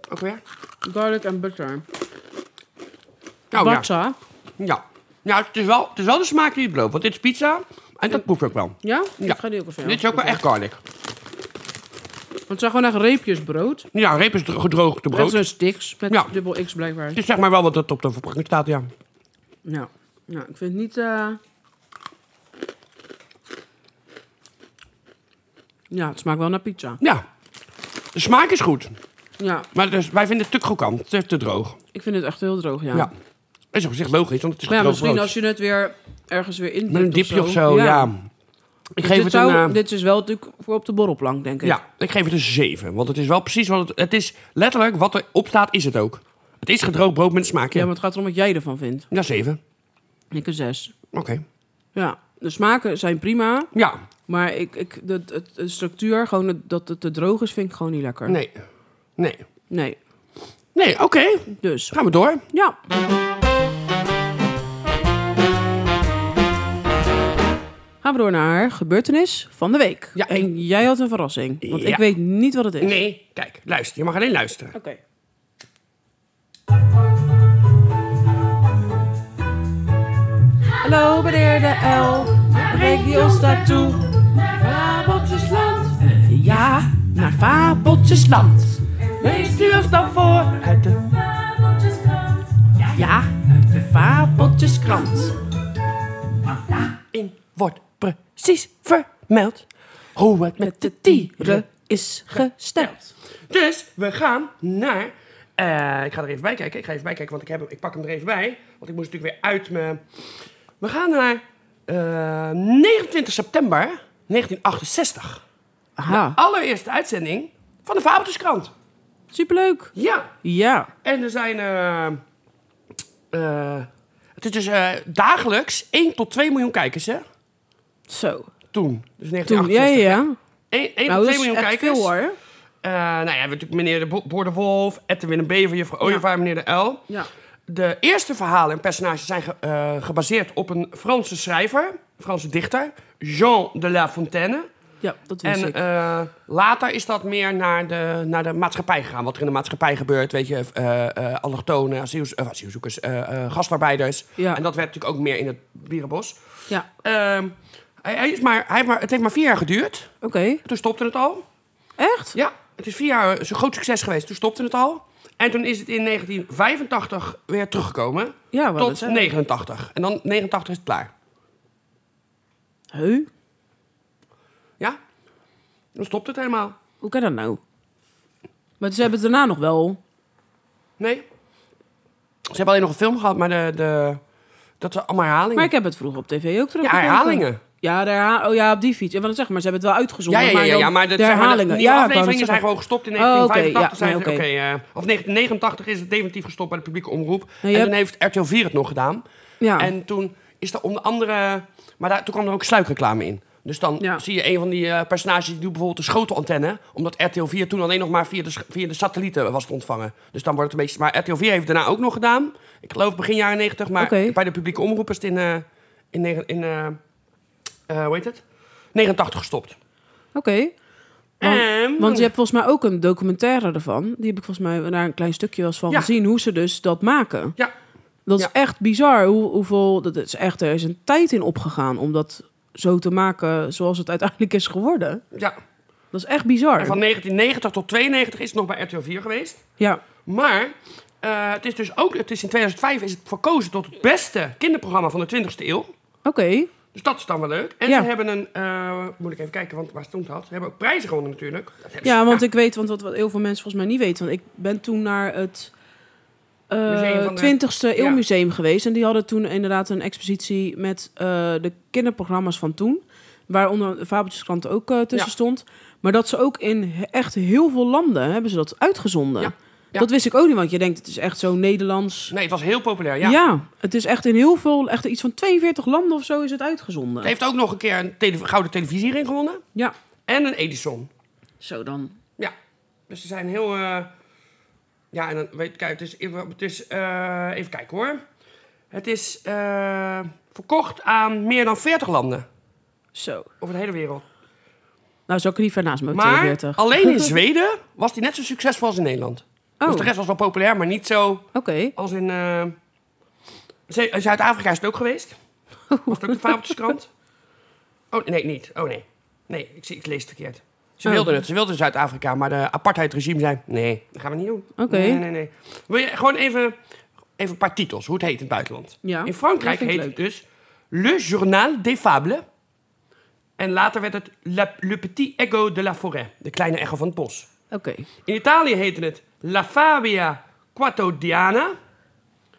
[SPEAKER 2] Ook weer?
[SPEAKER 1] Garlic en butter.
[SPEAKER 2] Nou, ja.
[SPEAKER 1] Barca. Oh, Ja?
[SPEAKER 2] Ja, ja het, is wel, het is wel de smaak die het loopt. Want dit is pizza en dat proef ik ook wel. Ja.
[SPEAKER 1] Ik ga die ook even
[SPEAKER 2] Dit is ook wel echt garlic.
[SPEAKER 1] Want het zijn gewoon echt reepjes brood.
[SPEAKER 2] Ja, reep is dro- gedroogde
[SPEAKER 1] Dat
[SPEAKER 2] brood.
[SPEAKER 1] zijn sticks met
[SPEAKER 2] Ja.
[SPEAKER 1] dubbel X blijkbaar.
[SPEAKER 2] Het is zeg maar wel wat het op de verpakking staat, ja.
[SPEAKER 1] Ja. ja, ik vind het niet... eh, Ja, het smaakt wel naar pizza.
[SPEAKER 2] Ja, de smaak is goed.
[SPEAKER 1] Ja,
[SPEAKER 2] Maar het is- wij vinden het te krokant, het is te droog.
[SPEAKER 1] ik vind het echt heel droog, ja.
[SPEAKER 2] Ja. Is op zich logisch, want het is
[SPEAKER 1] Maar ja,
[SPEAKER 2] gedroogd
[SPEAKER 1] misschien
[SPEAKER 2] brood.
[SPEAKER 1] als je het weer ergens weer in
[SPEAKER 2] Met een dipje of zo, ja. Ik
[SPEAKER 1] Dus dit,
[SPEAKER 2] geef het
[SPEAKER 1] zou-
[SPEAKER 2] een... eh,
[SPEAKER 1] dit is wel natuurlijk voor op de borrelplank, denk ik.
[SPEAKER 2] ja, ik geef het een 7. Want het is wel precies wat het... Het is letterlijk wat erop staat, is het ook. Het is gedroogd brood met een smaakje.
[SPEAKER 1] Ja,
[SPEAKER 2] Ja,
[SPEAKER 1] maar het gaat erom wat jij ervan vindt.
[SPEAKER 2] 7.
[SPEAKER 1] Ik een zes.
[SPEAKER 2] Oké.
[SPEAKER 1] Ja, de smaken zijn prima,
[SPEAKER 2] Ja,
[SPEAKER 1] maar ik, ik, de, de, de structuur, gewoon het- dat het te droog is, vind ik gewoon niet lekker.
[SPEAKER 2] nee. Nee.
[SPEAKER 1] Nee.
[SPEAKER 2] Nee, oké.
[SPEAKER 1] Dus,
[SPEAKER 2] Gaan we door.
[SPEAKER 1] ja. Gaan we door naar gebeurtenis van de week.
[SPEAKER 2] Ja,
[SPEAKER 1] en jij had een verrassing, want ik
[SPEAKER 2] Ja.
[SPEAKER 1] weet niet wat het is.
[SPEAKER 2] Nee, kijk, luister. Je mag alleen luisteren.
[SPEAKER 1] Oké. Hallo meneer de L, breng ons daartoe. Fabeltjesland. Ja, naar Fabeltjesland. Leest u ons dan voor uit de Fabeltjeskrant. Ja, uit de Fabeltjeskrant.
[SPEAKER 2] In wordt precies vermeld hoe het met de
[SPEAKER 1] Tieren is gesteld.
[SPEAKER 2] Dus we gaan naar... eh, ik ga er even bij kijken. Ik ga even bij kijken, want ik, heb, hem- ik pak hem er even bij. Want ik moest natuurlijk weer uit mijn... We gaan naar eh, 29 september 1968.
[SPEAKER 1] Aha,
[SPEAKER 2] Allereerste uitzending van de Fabeltjeskrant.
[SPEAKER 1] superleuk.
[SPEAKER 2] Ja,
[SPEAKER 1] Ja,
[SPEAKER 2] en er zijn... eh, eh, het is dus eh, dagelijks 1 tot 2 miljoen kijkers, hè?
[SPEAKER 1] zo.
[SPEAKER 2] Toen, dus
[SPEAKER 1] Toen, ja,
[SPEAKER 2] 1968.
[SPEAKER 1] ja, ja. Nou,
[SPEAKER 2] 1 tot
[SPEAKER 1] dat
[SPEAKER 2] 2
[SPEAKER 1] is
[SPEAKER 2] miljoen
[SPEAKER 1] echt
[SPEAKER 2] kijkers.
[SPEAKER 1] veel hoor.
[SPEAKER 2] Eh, nou ja, we hebben natuurlijk meneer de Bo- Boer de Wolf, Edwin de Bever, juffrouw Ooievaar, meneer de L.
[SPEAKER 1] Ja.
[SPEAKER 2] De eerste verhalen en personages zijn ge- eh, gebaseerd op een Franse schrijver, Franse dichter, Jean de La Fontaine.
[SPEAKER 1] Ja, dat wist
[SPEAKER 2] En
[SPEAKER 1] ik.
[SPEAKER 2] eh, later is dat meer naar de, naar de maatschappij gegaan. Wat er in de maatschappij gebeurt, weet je, eh eh allochtonen, asiels, eh, asielzoekers, eh, eh, gastarbeiders.
[SPEAKER 1] Ja.
[SPEAKER 2] En dat werd natuurlijk ook meer in het Bierenbos.
[SPEAKER 1] ja,
[SPEAKER 2] Ehm, hij, hij is maar, hij heeft maar, het heeft maar vier jaar geduurd.
[SPEAKER 1] oké.
[SPEAKER 2] Toen stopte het al.
[SPEAKER 1] Echt?
[SPEAKER 2] Ja, het is vier jaar eh, zo'n groot succes geweest. Toen stopte het al. En toen is het in 1985 weer teruggekomen.
[SPEAKER 1] Ja, wel.
[SPEAKER 2] tot 89. En dan 89 is het klaar.
[SPEAKER 1] Heu?
[SPEAKER 2] Ja? Dan stopt het helemaal.
[SPEAKER 1] Hoe kan dat nou? Maar ze hebben het daarna nog wel.
[SPEAKER 2] Nee? Ze hebben alleen nog een film gehad, maar de, de, dat zijn allemaal herhalingen.
[SPEAKER 1] Maar ik heb het vroeger op tv ook
[SPEAKER 2] ja,
[SPEAKER 1] teruggekeken.
[SPEAKER 2] herhalingen.
[SPEAKER 1] Ja, de herha- oh ja, op die fiets. En wat zeg maar, ze hebben het wel
[SPEAKER 2] Ja,
[SPEAKER 1] uitgezonden.
[SPEAKER 2] ja, ja, ja, ja, maar
[SPEAKER 1] de,
[SPEAKER 2] dat
[SPEAKER 1] de
[SPEAKER 2] zijn maar de-
[SPEAKER 1] herhalingen.
[SPEAKER 2] die
[SPEAKER 1] ja, ik wou
[SPEAKER 2] afleveringen
[SPEAKER 1] net
[SPEAKER 2] zijn
[SPEAKER 1] zeggen.
[SPEAKER 2] gewoon gestopt in
[SPEAKER 1] Oh, oké,
[SPEAKER 2] 1985.
[SPEAKER 1] ja,
[SPEAKER 2] zijn
[SPEAKER 1] nee,
[SPEAKER 2] ze-
[SPEAKER 1] oké.
[SPEAKER 2] oké, eh, of 1989 is het definitief gestopt bij de publieke omroep.
[SPEAKER 1] Nee, je
[SPEAKER 2] En toen heeft RTL 4 het nog gedaan.
[SPEAKER 1] Ja.
[SPEAKER 2] En toen is er onder andere... Maar daar, toen kwam er ook sluikreclame in. Dus dan
[SPEAKER 1] Ja.
[SPEAKER 2] zie je een van die eh, personages... die doet bijvoorbeeld de schotelantenne. Omdat RTL 4 toen alleen nog maar via de, sch- via de satellieten was te ontvangen. Dus dan wordt het een beetje... Maar RTL 4 heeft het daarna ook nog gedaan. Ik geloof begin jaren 90. Maar
[SPEAKER 1] Oké.
[SPEAKER 2] bij de publieke omroep is het in... eh, in, negen- in eh, eh, hoe heet het? 89 gestopt.
[SPEAKER 1] Oké. Want, want je hebt volgens mij ook een documentaire ervan. Die heb ik volgens mij daar een klein stukje was van
[SPEAKER 2] Ja.
[SPEAKER 1] gezien. Hoe ze dus dat maken.
[SPEAKER 2] Ja,
[SPEAKER 1] Dat
[SPEAKER 2] Ja.
[SPEAKER 1] is echt bizar. Hoe, hoeveel, dat is echt, er is een tijd in opgegaan om dat zo te maken zoals het uiteindelijk is geworden.
[SPEAKER 2] ja.
[SPEAKER 1] Dat is echt bizar.
[SPEAKER 2] En van 1990 tot 92 is het nog bij RTL 4 geweest.
[SPEAKER 1] Ja.
[SPEAKER 2] Maar eh, het is dus ook, het is in 2005 is het verkozen tot het beste kinderprogramma van de 20e eeuw.
[SPEAKER 1] Oké.
[SPEAKER 2] Dus dat is dan wel leuk. En
[SPEAKER 1] Ja.
[SPEAKER 2] ze hebben een, eh, moet ik even kijken want waar stond dat? Ze hebben ook prijzen gewonnen natuurlijk. Dat hebben ze-
[SPEAKER 1] Ja, want ik weet, want wat, wat heel veel mensen volgens mij niet weten, want ik ben toen naar het
[SPEAKER 2] Museum
[SPEAKER 1] eh
[SPEAKER 2] van de-
[SPEAKER 1] 20e
[SPEAKER 2] Ja.
[SPEAKER 1] eeuw museum geweest en die hadden toen inderdaad een expositie met eh, de kinderprogramma's van toen, waaronder de Fabeltjeskrant ook eh, tussen
[SPEAKER 2] Ja.
[SPEAKER 1] stond, maar dat ze ook in he- echt heel veel landen hebben ze dat uitgezonden.
[SPEAKER 2] Ja. Ja.
[SPEAKER 1] Dat wist ik ook niet, want je denkt het is echt zo Nederlands.
[SPEAKER 2] Nee, het was heel populair, ja.
[SPEAKER 1] Ja. het is echt in heel veel, echt iets van 42 landen of zo is het uitgezonden.
[SPEAKER 2] Ze heeft ook nog een keer een tele- gouden televisiering gewonnen.
[SPEAKER 1] Ja,
[SPEAKER 2] En een Edison.
[SPEAKER 1] zo dan.
[SPEAKER 2] Ja, dus ze zijn heel. eh, ja, en dan weet kijk, het is. Het is eh, even kijken hoor. Het is eh, verkocht aan meer dan 40 landen
[SPEAKER 1] Zo.
[SPEAKER 2] over de hele wereld.
[SPEAKER 1] Nou, zo kun je ver naast me
[SPEAKER 2] Maar
[SPEAKER 1] 42.
[SPEAKER 2] alleen in Zweden was die net zo succesvol als in Nederland. Dus
[SPEAKER 1] Oh,
[SPEAKER 2] de
[SPEAKER 1] oké.
[SPEAKER 2] rest was wel populair, maar niet zo als in. eh, Zu- Zuid-Afrika is het ook geweest. Was het ook de fabeltjeskrant? Oh nee, niet. Oh nee. Nee, ik, zie- ik lees het verkeerd. Ze
[SPEAKER 1] Oh.
[SPEAKER 2] wilden het, ze wilden Zuid-Afrika, maar de apartheidregime zei: nee, dat gaan we niet doen.
[SPEAKER 1] Oké.
[SPEAKER 2] Nee, nee, nee. Wil je gewoon even, even een paar titels, hoe het heet in het buitenland?
[SPEAKER 1] Ja,
[SPEAKER 2] in Frankrijk
[SPEAKER 1] dat vind
[SPEAKER 2] heet
[SPEAKER 1] ik
[SPEAKER 2] het dus Le Journal des Fables. En later werd het La- Le Petit Echo de la Forêt, de kleine echo van het bos.
[SPEAKER 1] Oké.
[SPEAKER 2] In Italië heette het La Fabia Quatodiana.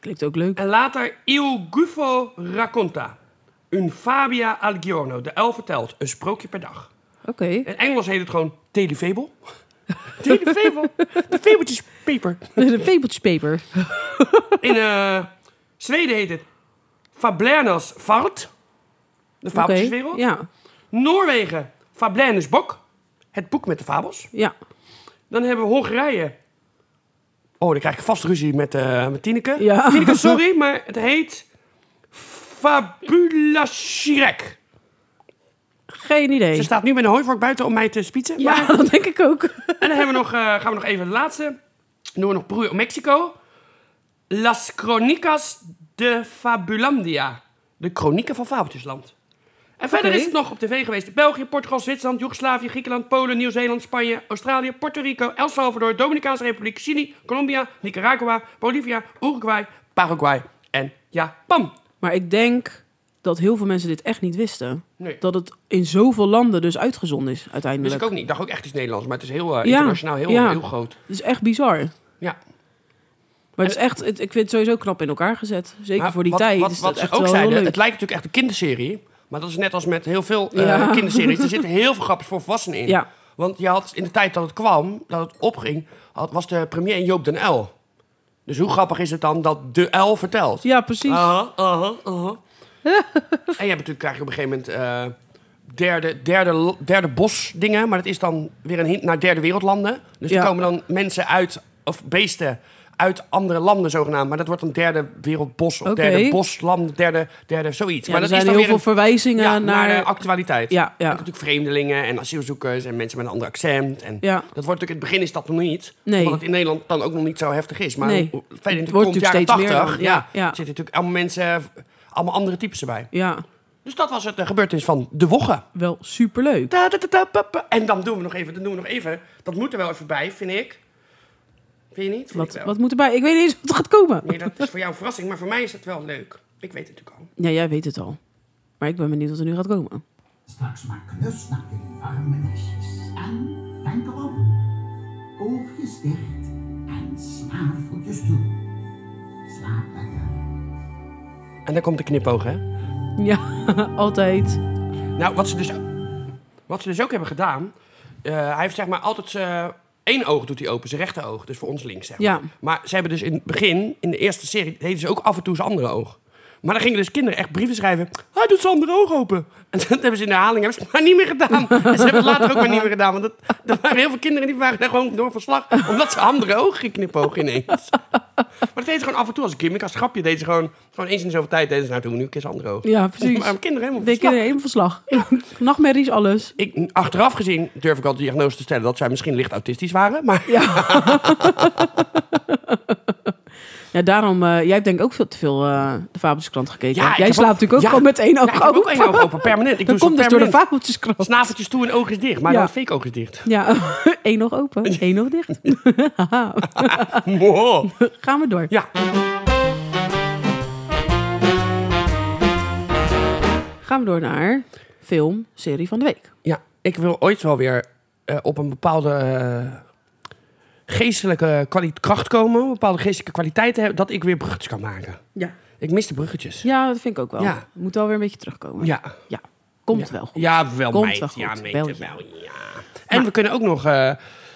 [SPEAKER 1] Klinkt ook leuk.
[SPEAKER 2] En later Il Gufo Racconta. Un Fabia Algiono, de elf vertelt, een sprookje per dag.
[SPEAKER 1] Oké.
[SPEAKER 2] In Engels heet het gewoon Telefabel. Telefabel. De fabeltjes paper.
[SPEAKER 1] Een fabeltjespaper.
[SPEAKER 2] In eh, Zweden heet het Fablernas Vart. De
[SPEAKER 1] Oké.
[SPEAKER 2] fabeltjeswereld.
[SPEAKER 1] Ja.
[SPEAKER 2] Noorwegen Fablernes Bok. Het boek met de fabels.
[SPEAKER 1] Ja.
[SPEAKER 2] Dan hebben we Hongarije. Oh, dan krijg ik vast ruzie met, eh, met Tineke.
[SPEAKER 1] Ja.
[SPEAKER 2] Tineke, sorry, maar het heet Fabula Shrek.
[SPEAKER 1] Geen idee.
[SPEAKER 2] Ze staat nu met een hooivork buiten om mij te spietsen.
[SPEAKER 1] Ja,
[SPEAKER 2] Maar,
[SPEAKER 1] dat denk ik ook.
[SPEAKER 2] en dan hebben we nog, eh, gaan we nog even de laatste. Dan doen we nog Peru Mexico. Las Cronicas de Fabulandia. De chronieken van Fabeltjesland. En verder
[SPEAKER 1] Oké.
[SPEAKER 2] is het nog op tv geweest. België, Portugal, Zwitserland, Joegoslavië, Griekenland, Polen, Nieuw-Zeeland, Spanje, Australië, Puerto Rico, El Salvador, Dominicaanse Republiek, Chili, Colombia, Nicaragua, Bolivia, Uruguay, Paraguay en Japan.
[SPEAKER 1] Maar ik denk dat heel veel mensen dit echt niet wisten.
[SPEAKER 2] Nee.
[SPEAKER 1] Dat het in zoveel landen dus uitgezonden is
[SPEAKER 2] Dus ik
[SPEAKER 1] uiteindelijk.
[SPEAKER 2] ook niet. Ik dacht ook echt iets Nederlands, maar het is heel eh,
[SPEAKER 1] Ja.
[SPEAKER 2] internationaal, heel,
[SPEAKER 1] Ja.
[SPEAKER 2] heel groot.
[SPEAKER 1] Het is echt bizar.
[SPEAKER 2] Ja.
[SPEAKER 1] Maar het is echt, het- ik vind het sowieso knap in elkaar gezet. Zeker
[SPEAKER 2] Eh, Maar
[SPEAKER 1] voor die
[SPEAKER 2] wat,
[SPEAKER 1] tijd.
[SPEAKER 2] Wat,
[SPEAKER 1] is
[SPEAKER 2] wat
[SPEAKER 1] dat
[SPEAKER 2] ze
[SPEAKER 1] echt
[SPEAKER 2] ook
[SPEAKER 1] wel
[SPEAKER 2] zeiden,
[SPEAKER 1] heel leuk.
[SPEAKER 2] het lijkt natuurlijk echt een kinderserie. Maar dat is net als met heel veel eh,
[SPEAKER 1] Ja.
[SPEAKER 2] kinderseries. Er zitten heel veel grapjes voor volwassenen in.
[SPEAKER 1] Ja.
[SPEAKER 2] Want je had in de tijd dat het kwam, dat het opging, had, was de premier Joop den L. Dus hoe grappig is het dan dat de L vertelt?
[SPEAKER 1] Ja, precies.
[SPEAKER 2] Aha, aha, aha. en je hebt natuurlijk, krijg je op een gegeven moment eh, derde, derde, lo- derde bosdingen. Maar dat is dan weer een hint naar derde wereldlanden. Dus er
[SPEAKER 1] Ja.
[SPEAKER 2] komen dan mensen uit, of beesten uit andere landen zogenaamd. Maar dat wordt dan derde wereldbos of
[SPEAKER 1] Oké.
[SPEAKER 2] derde bosland, derde, derde zoiets.
[SPEAKER 1] ja,
[SPEAKER 2] maar
[SPEAKER 1] er
[SPEAKER 2] dat
[SPEAKER 1] zijn
[SPEAKER 2] is
[SPEAKER 1] heel
[SPEAKER 2] dan weer
[SPEAKER 1] veel
[SPEAKER 2] een-
[SPEAKER 1] verwijzingen
[SPEAKER 2] ja,
[SPEAKER 1] naar...
[SPEAKER 2] de actualiteit.
[SPEAKER 1] ja,
[SPEAKER 2] Je
[SPEAKER 1] ja.
[SPEAKER 2] hebt natuurlijk vreemdelingen en asielzoekers en mensen met een ander accent. En
[SPEAKER 1] Ja.
[SPEAKER 2] Dat wordt natuurlijk in het begin is dat nog niet.
[SPEAKER 1] Nee.
[SPEAKER 2] Omdat het in Nederland dan ook nog niet zo heftig is. Maar
[SPEAKER 1] Nee.
[SPEAKER 2] hoe- verder in de
[SPEAKER 1] Het wordt
[SPEAKER 2] komt jaren
[SPEAKER 1] natuurlijk steeds meer
[SPEAKER 2] 80,
[SPEAKER 1] dan,
[SPEAKER 2] ja,
[SPEAKER 1] ja, ja.
[SPEAKER 2] zitten natuurlijk allemaal mensen, allemaal andere types erbij.
[SPEAKER 1] ja,
[SPEAKER 2] Dus dat was het eh, gebeurtenis van de Wogge.
[SPEAKER 1] wel superleuk.
[SPEAKER 2] Ta- ta- ta- ta- pa- pa. En dan doen we nog even, dan doen we nog even. Dat moet er wel even bij, vind ik. Vind je niet? Vind ik
[SPEAKER 1] Wat,
[SPEAKER 2] wel.
[SPEAKER 1] wat moet erbij? Ik weet niet eens wat er gaat komen.
[SPEAKER 2] Nee, dat is voor jou een verrassing, maar voor mij is het wel leuk. Ik weet het natuurlijk al.
[SPEAKER 1] Ja, jij weet het al. Maar ik ben benieuwd wat er nu gaat komen.
[SPEAKER 3] Straks maar knusnak in uw warme nestjes. En denk erop. Oogjes dicht en snaveltjes toe. Slaap lekker.
[SPEAKER 2] En dan komt de knipoog, hè?
[SPEAKER 1] Ja, altijd.
[SPEAKER 2] Nou, wat ze dus, wat ze dus ook hebben gedaan. eh, hij heeft zeg maar altijd zijn één oog doet hij open, zijn rechter oog. Dus voor ons links zeg maar.
[SPEAKER 1] Ja.
[SPEAKER 2] Maar ze hebben dus in het begin, in de eerste serie, deden ze dus ook af en toe zijn andere oog. Maar dan gingen dus kinderen echt brieven schrijven. Hij doet zijn andere oog open. En dat hebben ze in de herhaling hebben ze het maar niet meer gedaan. En ze hebben het later ook maar niet meer gedaan. Want dat, er waren heel veel kinderen die waren daar gewoon door van slag. Omdat ze andere oog geknipoog ineens. Maar dat deden ze gewoon af en toe als gimmick, als grapje. Deden ze gewoon, gewoon eens in de zoveel tijd. Deden ze nou doen we nu een keer zijn andere oog.
[SPEAKER 1] Ja, precies.
[SPEAKER 2] Maar kinderen helemaal
[SPEAKER 1] Dikke
[SPEAKER 2] verslag.
[SPEAKER 1] helemaal verslag. Nachtmerries, alles.
[SPEAKER 2] Ik, achteraf gezien durf ik al de diagnose te stellen dat zij misschien licht autistisch waren. Maar
[SPEAKER 1] Ja, daarom, eh, jij hebt denk ik ook veel te veel eh, de Fabeltjeskrant gekeken.
[SPEAKER 2] Ja, ik
[SPEAKER 1] jij
[SPEAKER 2] heb
[SPEAKER 1] slaapt
[SPEAKER 2] ook-
[SPEAKER 1] natuurlijk ook
[SPEAKER 2] ja.
[SPEAKER 1] gewoon met één
[SPEAKER 2] Ja,
[SPEAKER 1] oog
[SPEAKER 2] ik
[SPEAKER 1] open.
[SPEAKER 2] heb ook één oog open, permanent. Ik
[SPEAKER 1] Dat
[SPEAKER 2] doe
[SPEAKER 1] komt
[SPEAKER 2] ze
[SPEAKER 1] dus door de
[SPEAKER 2] permanent.
[SPEAKER 1] Fabeltjeskrant.
[SPEAKER 2] snaveltjes toe en oog is dicht. Maar
[SPEAKER 1] Ja.
[SPEAKER 2] dan fake oog is dicht.
[SPEAKER 1] Ja, één oog open, één oog dicht.
[SPEAKER 2] Wow.
[SPEAKER 1] Gaan we door.
[SPEAKER 2] Ja,
[SPEAKER 1] gaan we door naar film, serie van de week.
[SPEAKER 2] Ja, ik wil ooit wel weer eh, op een bepaalde eh, geestelijke kwali- kracht komen. Een bepaalde geestelijke kwaliteiten hebben. Dat ik weer bruggetjes kan maken.
[SPEAKER 1] Ja.
[SPEAKER 2] Ik mis de bruggetjes.
[SPEAKER 1] Ja, dat vind ik ook wel.
[SPEAKER 2] Ja.
[SPEAKER 1] Moet wel weer een beetje terugkomen.
[SPEAKER 2] Ja.
[SPEAKER 1] Ja. Komt
[SPEAKER 2] ja.
[SPEAKER 1] wel goed.
[SPEAKER 2] Ja, wel
[SPEAKER 1] Komt
[SPEAKER 2] meid.
[SPEAKER 1] wel goed.
[SPEAKER 2] Ja, meid,
[SPEAKER 1] Wel,
[SPEAKER 2] wel,
[SPEAKER 1] ja.
[SPEAKER 2] ja. En we kunnen ook nog eh,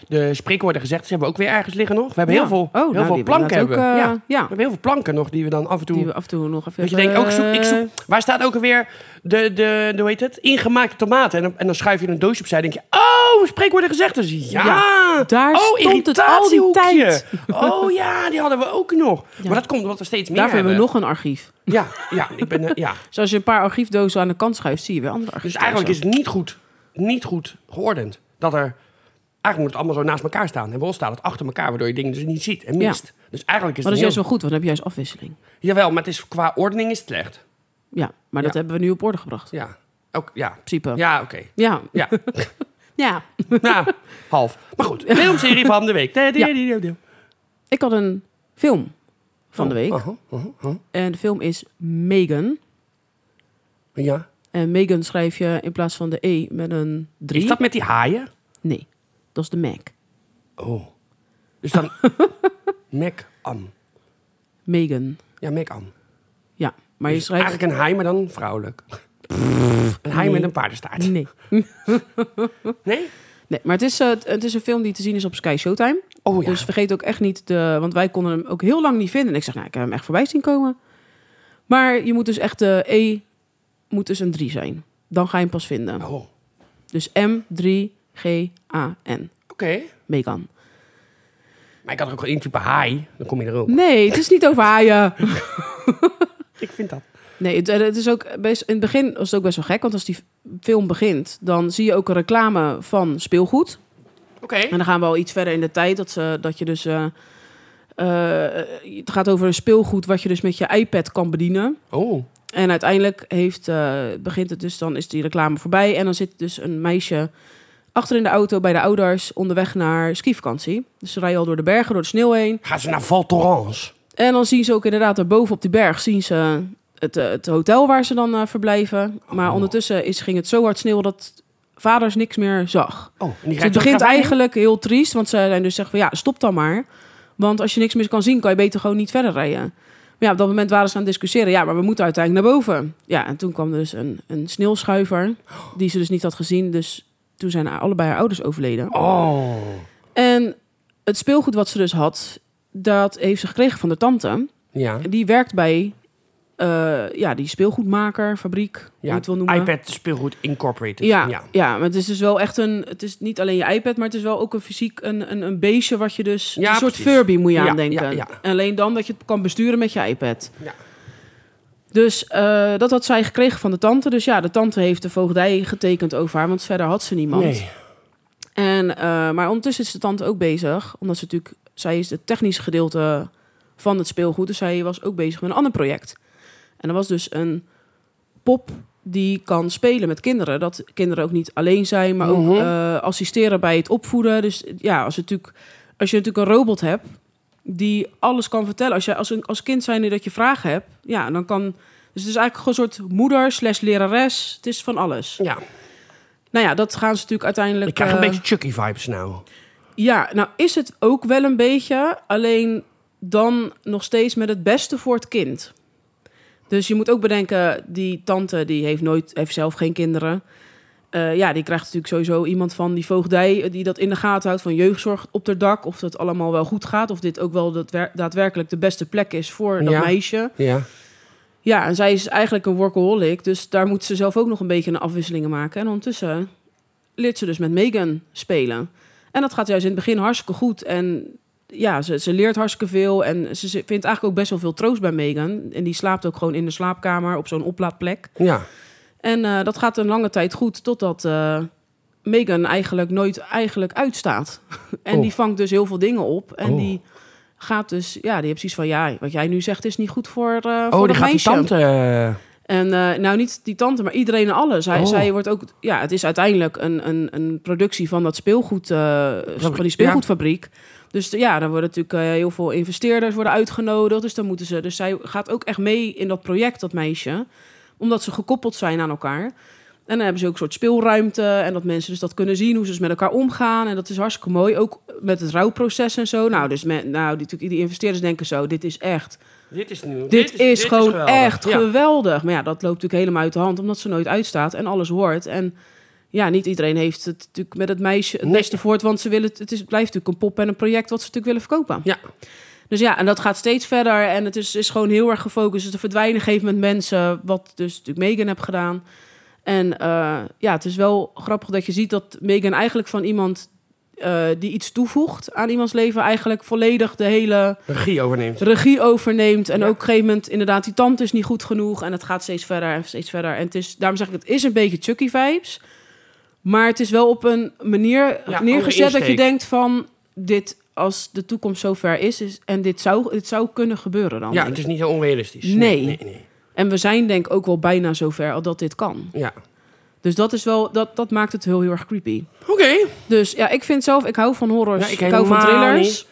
[SPEAKER 2] de spreekwoorden gezegd. Ze hebben we ook weer ergens liggen nog. We hebben heel
[SPEAKER 1] Ja.
[SPEAKER 2] veel,
[SPEAKER 1] Oh, nou,
[SPEAKER 2] heel
[SPEAKER 1] die
[SPEAKER 2] veel
[SPEAKER 1] hebben we
[SPEAKER 2] planken.
[SPEAKER 1] inderdaad
[SPEAKER 2] Hebben.
[SPEAKER 1] ook, eh,
[SPEAKER 2] ja.
[SPEAKER 1] ja.
[SPEAKER 2] We hebben heel veel planken nog die we dan af en toe...
[SPEAKER 1] Die we af en toe nog even...
[SPEAKER 2] Dat je denkt, oh, ik zoek, ik
[SPEAKER 1] eh,
[SPEAKER 2] zoek. Waar staat ook alweer de, de, de hoe heet het? Ingemaakte tomaten. En dan, en dan schuif je een doosje opzij. denk je, oh, spreekwoorden gezegd. Dus ja,
[SPEAKER 1] Ja, daar
[SPEAKER 2] oh,
[SPEAKER 1] stond het al die
[SPEAKER 2] irritatiehoekje.
[SPEAKER 1] tijd.
[SPEAKER 2] Oh ja, die hadden we ook nog. Maar dat komt omdat we steeds meer
[SPEAKER 1] Daarvoor hebben we
[SPEAKER 2] hebben.
[SPEAKER 1] nog een archief.
[SPEAKER 2] Ja, ja, ik ben, eh, ja.
[SPEAKER 1] Dus als je een paar archiefdozen aan de kant schuift, zie je weer andere
[SPEAKER 2] Dus
[SPEAKER 1] archieven.
[SPEAKER 2] eigenlijk is het niet goed, niet goed geordend. Dat er, eigenlijk moet het allemaal zo naast elkaar staan. En wel staat het achter elkaar, waardoor je dingen dus niet ziet en
[SPEAKER 1] Ja.
[SPEAKER 2] mist. Dus eigenlijk is
[SPEAKER 1] Maar
[SPEAKER 2] het
[SPEAKER 1] dat is
[SPEAKER 2] heel...
[SPEAKER 1] juist wel goed, want dan heb je juist afwisseling.
[SPEAKER 2] Jawel, maar het is, qua ordening is het slecht.
[SPEAKER 1] Ja, maar dat
[SPEAKER 2] Ja.
[SPEAKER 1] hebben we nu op orde gebracht. In
[SPEAKER 2] Ja, ook, ja.
[SPEAKER 1] principe.
[SPEAKER 2] Ja, oké.
[SPEAKER 1] Ja.
[SPEAKER 2] Ja.
[SPEAKER 1] Ja.
[SPEAKER 2] Ja, half. Maar goed, filmserie van de week.
[SPEAKER 1] Ik had een film van de week.
[SPEAKER 2] Aha, aha, aha.
[SPEAKER 1] En de film is Megan.
[SPEAKER 2] Ja.
[SPEAKER 1] En Megan schrijf je in plaats van de E met een 3.
[SPEAKER 2] Is dat met die haaien?
[SPEAKER 1] Nee, dat is de Mac.
[SPEAKER 2] Oh. Dus dan... Mac Am.
[SPEAKER 1] Megan.
[SPEAKER 2] Ja, Mac Am.
[SPEAKER 1] Ja, maar je schrijft...
[SPEAKER 2] Dus Eigenlijk een haai, maar dan vrouwelijk. een haai met een paardenstaart.
[SPEAKER 1] Nee.
[SPEAKER 2] Nee?
[SPEAKER 1] nee. Maar het is, eh, het is een film die te zien is op Sky Showtime.
[SPEAKER 2] Oh ja.
[SPEAKER 1] Dus vergeet ook echt niet de. Want wij konden hem ook heel lang niet vinden. En ik zeg, nou, ik heb hem echt voorbij zien komen. Maar je moet dus echt de E moet dus een 3 zijn. Dan ga je hem pas vinden.
[SPEAKER 2] Oh. Oké.
[SPEAKER 1] Dus M, 3, G, A, N. Megan.
[SPEAKER 2] Maar ik had er ook wel intypen haai. Dan kom je er ook.
[SPEAKER 1] Nee, het is niet over haaien.
[SPEAKER 2] Ik vind dat.
[SPEAKER 1] Nee, het, eh, het is ook best, in het begin was het ook best wel gek. Want als die film begint, dan zie je ook een reclame van speelgoed.
[SPEAKER 2] Oké.
[SPEAKER 1] En dan gaan we al iets verder in de tijd. Dat, ze, dat je dus. eh, eh, het gaat over een speelgoed wat je dus met je iPad kan bedienen.
[SPEAKER 2] Oh.
[SPEAKER 1] En uiteindelijk heeft, eh, begint het dus, dan is die reclame voorbij. En dan zit dus een meisje achter in de auto bij de ouders onderweg naar skivakantie. Dus ze rijden al door de bergen, door de sneeuw heen.
[SPEAKER 2] Gaan ze naar Val Thorens?
[SPEAKER 1] En dan zien ze ook inderdaad daarboven op die berg zien ze het, eh, het hotel waar ze dan eh, verblijven. Maar
[SPEAKER 2] Oh.
[SPEAKER 1] ondertussen is, ging het zo hard sneeuw dat vaders niks meer zag.
[SPEAKER 2] Oh. En die
[SPEAKER 1] Dus
[SPEAKER 2] rijdt
[SPEAKER 1] het
[SPEAKER 2] ook
[SPEAKER 1] begint
[SPEAKER 2] graag mee?
[SPEAKER 1] eigenlijk heel triest, want ze zijn dus zeggen van ja, stop dan maar. Want als je niks meer kan zien, kan je beter gewoon niet verder rijden. Maar ja, op dat moment waren ze aan het discussiëren. Ja, maar we moeten uiteindelijk naar boven. Ja, en toen kwam er dus een, een sneeuwschuiver, die ze dus niet had gezien. Dus toen zijn allebei haar ouders overleden.
[SPEAKER 2] Oh.
[SPEAKER 1] En het speelgoed wat ze dus had, dat heeft ze gekregen van de tante.
[SPEAKER 2] Ja.
[SPEAKER 1] Hm. Die werkt bij eh, ja, die speelgoedmaker, fabriek, hoe je
[SPEAKER 2] Ja.
[SPEAKER 1] het wil noemen.
[SPEAKER 2] iPad Speelgoed Incorporated.
[SPEAKER 1] Ja, ja.
[SPEAKER 2] ja.
[SPEAKER 1] maar het is dus wel echt een... Het is niet alleen je iPad, maar het is wel ook een fysiek... een, een, een beestje wat je dus...
[SPEAKER 2] Ja,
[SPEAKER 1] een soort
[SPEAKER 2] precies.
[SPEAKER 1] Furby moet je
[SPEAKER 2] Ja,
[SPEAKER 1] aan denken.
[SPEAKER 2] ja, ja.
[SPEAKER 1] En alleen dan dat je het kan besturen met je iPad.
[SPEAKER 2] Ja.
[SPEAKER 1] Dus eh, dat had zij gekregen van de tante. Dus ja, de tante heeft de voogdij getekend over haar... want verder had ze niemand.
[SPEAKER 2] Nee.
[SPEAKER 1] En, eh, maar ondertussen is de tante ook bezig... omdat ze natuurlijk... Zij is het technische gedeelte van het speelgoed... dus zij was ook bezig met een ander project. En dat was dus een pop die kan spelen met kinderen. Dat kinderen ook niet alleen zijn, maar ook
[SPEAKER 2] Mhm.
[SPEAKER 1] eh, assisteren bij het opvoeden. Dus ja, als, het natuurlijk, als je natuurlijk een robot hebt die alles kan vertellen. Als, je, als, een, als kind zijnde dat je vragen hebt, ja, dan kan... Dus het is eigenlijk gewoon een soort moeder slash lerares. Het is van alles.
[SPEAKER 2] Ja.
[SPEAKER 1] Nou ja, dat gaan ze natuurlijk uiteindelijk...
[SPEAKER 2] Ik krijg een
[SPEAKER 1] eh,
[SPEAKER 2] beetje Chucky vibes nou.
[SPEAKER 1] ja, nou is het ook wel een beetje, alleen dan nog steeds met het beste voor het kind. Dus je moet ook bedenken, die tante die heeft, nooit, heeft zelf geen kinderen. Eh, ja, die krijgt natuurlijk sowieso iemand van die voogdij eh, die dat in de gaten houdt van jeugdzorg op ter dak. Of dat allemaal wel goed gaat, of dit ook wel daadwer- daadwerkelijk de beste plek is voor dat
[SPEAKER 2] Ja.
[SPEAKER 1] meisje.
[SPEAKER 2] Ja.
[SPEAKER 1] Ja, en zij is eigenlijk een workaholic, dus daar moet ze zelf ook nog een beetje een afwisselingen maken. En ondertussen leert ze dus met Megan spelen. En dat gaat juist in het begin hartstikke goed. En ja, ze, ze leert hartstikke veel en ze ze vindt eigenlijk ook best wel veel troost bij Megan. En die slaapt ook gewoon in de slaapkamer op zo'n oplaadplek.
[SPEAKER 2] Ja.
[SPEAKER 1] En eh, dat gaat een lange tijd goed, totdat eh, Megan eigenlijk nooit eigenlijk uitstaat. en
[SPEAKER 2] Oh.
[SPEAKER 1] die vangt dus heel veel dingen op. En
[SPEAKER 2] Oh.
[SPEAKER 1] die gaat dus, ja, die heeft precies van, ja, wat jij nu zegt is niet goed voor, eh voor
[SPEAKER 2] Oh,
[SPEAKER 1] dat
[SPEAKER 2] die gaat die
[SPEAKER 1] meisje.
[SPEAKER 2] tante... eh,
[SPEAKER 1] En eh, nou, niet die tante, maar iedereen en alles. Zij,
[SPEAKER 2] Oh.
[SPEAKER 1] zij wordt ook, ja, het is uiteindelijk een, een, een productie van dat speelgoed, eh, van die speelgoedfabriek. Dus eh, ja, dan worden natuurlijk eh, heel veel investeerders worden uitgenodigd. Dus dan moeten ze, dus zij gaat ook echt mee in dat project, dat meisje. Omdat ze gekoppeld zijn aan elkaar. En dan hebben ze ook een soort speelruimte. En dat mensen dus dat kunnen zien, hoe ze dus met elkaar omgaan. En dat is hartstikke mooi. Ook met het rouwproces en zo. Nou, dus met, nou, die, natuurlijk, die investeerders denken zo, dit is echt...
[SPEAKER 2] Dit is nieuw.
[SPEAKER 1] Dit, is, gewoon
[SPEAKER 2] geweldig.
[SPEAKER 1] echt
[SPEAKER 2] Ja.
[SPEAKER 1] geweldig. Maar ja, dat loopt natuurlijk helemaal uit de hand, omdat ze nooit uitstaat en alles hoort. En ja, niet iedereen heeft het natuurlijk met het meisje het
[SPEAKER 2] Nee.
[SPEAKER 1] beste voor het, want ze willen het, het is, het blijft natuurlijk een pop en een project wat ze natuurlijk willen verkopen.
[SPEAKER 2] Ja.
[SPEAKER 1] Dus ja, en dat gaat steeds verder en het is, is gewoon heel erg gefocust. Dus er verdwijnen op een gegeven moment mensen, wat dus natuurlijk Megan heb gedaan. En eh, ja, het is wel grappig dat je ziet dat Megan eigenlijk van iemand eh, die iets toevoegt aan iemands leven, eigenlijk volledig de hele
[SPEAKER 2] Regie overneemt.
[SPEAKER 1] regie overneemt. En
[SPEAKER 2] Ja.
[SPEAKER 1] ook op een gegeven moment, inderdaad, die tand is niet goed genoeg. En het gaat steeds verder en steeds verder. En het is, daarom zeg ik, het is een beetje Chucky vibes. Maar het is wel op een manier
[SPEAKER 2] andere
[SPEAKER 1] neergezet dat je
[SPEAKER 2] insteek.
[SPEAKER 1] denkt van... dit als de toekomst zo ver is, is en dit zou, dit zou kunnen gebeuren dan.
[SPEAKER 2] Ja, het is niet heel onrealistisch.
[SPEAKER 1] Nee.
[SPEAKER 2] nee, nee.
[SPEAKER 1] En we zijn denk ik ook wel bijna zover al dat dit kan.
[SPEAKER 2] Ja.
[SPEAKER 1] Dus dat, is wel, dat, dat maakt het heel, heel erg creepy.
[SPEAKER 2] Oké.
[SPEAKER 1] Dus ja, ik vind zelf, ik hou van horrors,
[SPEAKER 2] Ja,
[SPEAKER 1] ik,
[SPEAKER 2] ik
[SPEAKER 1] hou van
[SPEAKER 2] helemaal
[SPEAKER 1] thrillers.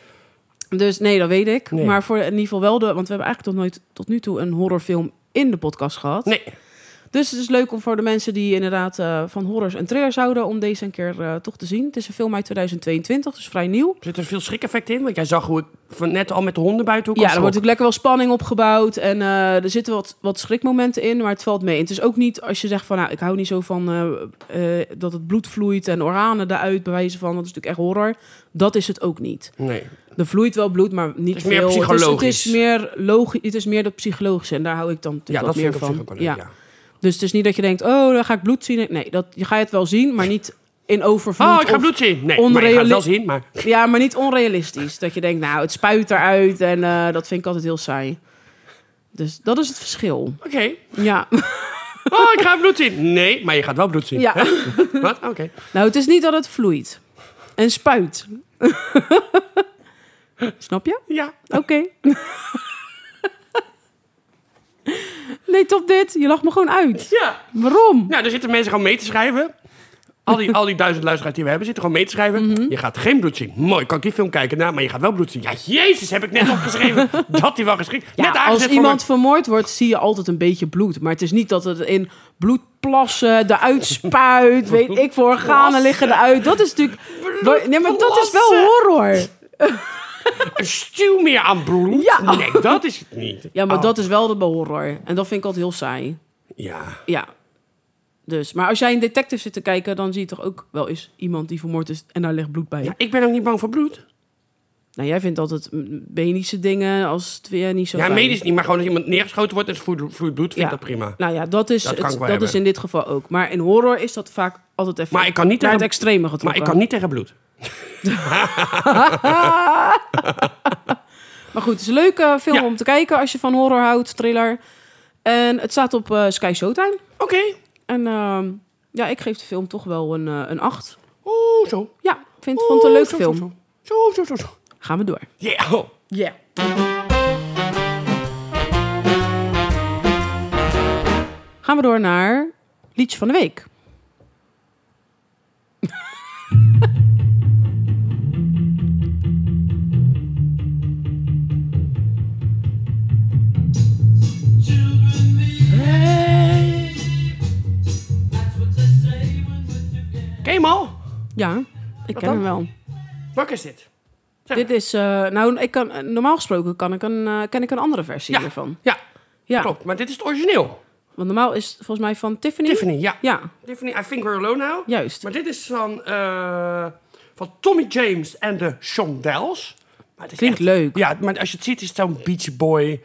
[SPEAKER 1] Dus nee, dat weet ik.
[SPEAKER 2] Nee.
[SPEAKER 1] Maar voor in ieder geval wel de, want we hebben eigenlijk tot, nooit, tot nu toe een horrorfilm in de podcast gehad.
[SPEAKER 2] Nee.
[SPEAKER 1] Dus het is leuk om voor de mensen die inderdaad eh, van horrors en thrillers houden, om deze een keer eh, toch te zien. Het is een film uit 2022, dus vrij nieuw.
[SPEAKER 2] Zit er veel schrik-effect in? Want jij zag hoe ik van net al met de honden buiten ook
[SPEAKER 1] Ja, er wordt ook lekker wel spanning opgebouwd en eh, er zitten wat, wat schrikmomenten in, maar het valt mee. En het is ook niet als je zegt van, nou, ik hou niet zo van eh, eh, dat het bloed vloeit en oranen eruit bewijzen van, dat is natuurlijk echt horror. Dat is het ook niet.
[SPEAKER 2] Nee.
[SPEAKER 1] Er vloeit wel bloed, maar niet
[SPEAKER 2] Het
[SPEAKER 1] veel.
[SPEAKER 2] is meer
[SPEAKER 1] Het is,
[SPEAKER 2] psychologisch.
[SPEAKER 1] het is meer logisch. Het is meer dat psychologische en daar hou ik dan
[SPEAKER 2] Ja,
[SPEAKER 1] natuurlijk
[SPEAKER 2] dat
[SPEAKER 1] wat
[SPEAKER 2] vind
[SPEAKER 1] meer
[SPEAKER 2] ik op
[SPEAKER 1] van.
[SPEAKER 2] zich ook wel leuk, ja.
[SPEAKER 1] Dus het is niet dat je denkt, oh, dan ga ik bloed zien. Nee, dat je ga je het wel zien, maar niet in overvloed.
[SPEAKER 2] Oh, ik ga
[SPEAKER 1] of-
[SPEAKER 2] bloed zien. Nee, maar ik ga
[SPEAKER 1] onreali-
[SPEAKER 2] het wel zien, maar...
[SPEAKER 1] Ja, maar niet onrealistisch. Dat je denkt, nou, het spuit eruit en eh, dat vind ik altijd heel saai. Dus dat is het verschil.
[SPEAKER 2] Oké.
[SPEAKER 1] Ja.
[SPEAKER 2] Oh, ik ga bloed zien. Nee, maar je gaat wel bloed zien.
[SPEAKER 1] ja.
[SPEAKER 2] Wat? Oké.
[SPEAKER 1] Nou, het is niet dat het vloeit en spuit. Snap je?
[SPEAKER 2] Ja.
[SPEAKER 1] Oké. nee, top dit. Je lacht me gewoon uit.
[SPEAKER 2] Ja.
[SPEAKER 1] Waarom?
[SPEAKER 2] Nou, daar zitten mensen gewoon mee te schrijven. Al die, al die duizend luisteraars die we hebben, zitten gewoon mee te schrijven.
[SPEAKER 1] Mhm.
[SPEAKER 2] Je gaat geen bloed zien. Mooi, kan ik die film kijken? Nou, maar je gaat wel bloed zien. Ja, jezus, heb ik net opgeschreven. dat die wel geschikt.
[SPEAKER 1] Ja,
[SPEAKER 2] net aangezet
[SPEAKER 1] als
[SPEAKER 2] voor
[SPEAKER 1] iemand vermoord wordt, zie je altijd een beetje bloed. Maar het is niet dat het in bloedplassen eruit spuit. Weet ik, voor organen liggen eruit. Dat is natuurlijk... Nee, maar dat is wel
[SPEAKER 2] Bloedplassen.
[SPEAKER 1] horror.
[SPEAKER 2] mijn- een stuw meer aan bloed.
[SPEAKER 1] Ja.
[SPEAKER 2] Nee, dat is het niet.
[SPEAKER 1] Ja, maar
[SPEAKER 2] Oh.
[SPEAKER 1] dat is wel de horror. En dat vind ik altijd heel saai.
[SPEAKER 2] Ja.
[SPEAKER 1] Ja. Dus, maar als jij een detective zit te kijken, dan zie je toch ook wel eens iemand die vermoord is en daar ligt bloed bij.
[SPEAKER 2] ja. Ik ben ook niet bang voor bloed.
[SPEAKER 1] Nou, jij vindt altijd mm, medische dingen als het weer niet zo
[SPEAKER 2] Ja,
[SPEAKER 1] fijn.
[SPEAKER 2] medisch niet, maar gewoon als iemand neergeschoten wordt en er vloeit vloeit bloed, vind ik dat prima.
[SPEAKER 1] Nou ja, dat is,
[SPEAKER 2] Dat kan
[SPEAKER 1] het-
[SPEAKER 2] ik wel
[SPEAKER 1] dat is
[SPEAKER 2] hebben.
[SPEAKER 1] in dit geval ook. Maar in horror is dat vaak altijd even
[SPEAKER 2] Maar ik kan niet
[SPEAKER 1] naar het
[SPEAKER 2] tegen-
[SPEAKER 1] extreme
[SPEAKER 2] Maar
[SPEAKER 1] getrokken.
[SPEAKER 2] ik kan niet tegen bloed.
[SPEAKER 1] Maar goed, het is een leuke film
[SPEAKER 2] Ja.
[SPEAKER 1] om te kijken als je van horror houdt, thriller. En het staat op eh, Sky Showtime.
[SPEAKER 2] Oké.
[SPEAKER 1] En ehm, ja, ik geef de film toch wel een, eh, een 8.
[SPEAKER 2] Oeh, Oh, zo.
[SPEAKER 1] Ja, ik vind, vond het een leuk
[SPEAKER 2] Oeh, zo,
[SPEAKER 1] film.
[SPEAKER 2] Zo, zo, zo, zo. zo.
[SPEAKER 1] Gaan we door.
[SPEAKER 2] Ja. Oh.
[SPEAKER 1] Ja. Gaan we door naar Liedje van de Week.
[SPEAKER 2] Ken je hem al?
[SPEAKER 1] Ja, ik ken
[SPEAKER 2] dan?
[SPEAKER 1] hem wel.
[SPEAKER 2] Welke is dit?
[SPEAKER 1] Dit is, eh, nou, ik kan, eh, normaal gesproken kan ik een, eh, ken ik een andere versie
[SPEAKER 2] Ja.
[SPEAKER 1] hiervan.
[SPEAKER 2] Ja,
[SPEAKER 1] Ja,
[SPEAKER 2] Ah. klopt. Maar dit is het origineel.
[SPEAKER 1] want normaal is het volgens mij van Tiffany.
[SPEAKER 2] Tiffany, ja.
[SPEAKER 1] Ja,
[SPEAKER 2] Tiffany, I Think We're Alone Now.
[SPEAKER 1] Juist.
[SPEAKER 2] Maar dit is van, eh, van Tommy James en de Shondells. Maar het is
[SPEAKER 1] Klinkt
[SPEAKER 2] echt-
[SPEAKER 1] leuk.
[SPEAKER 2] Ja, maar als je het ziet is het zo'n Beach Boy,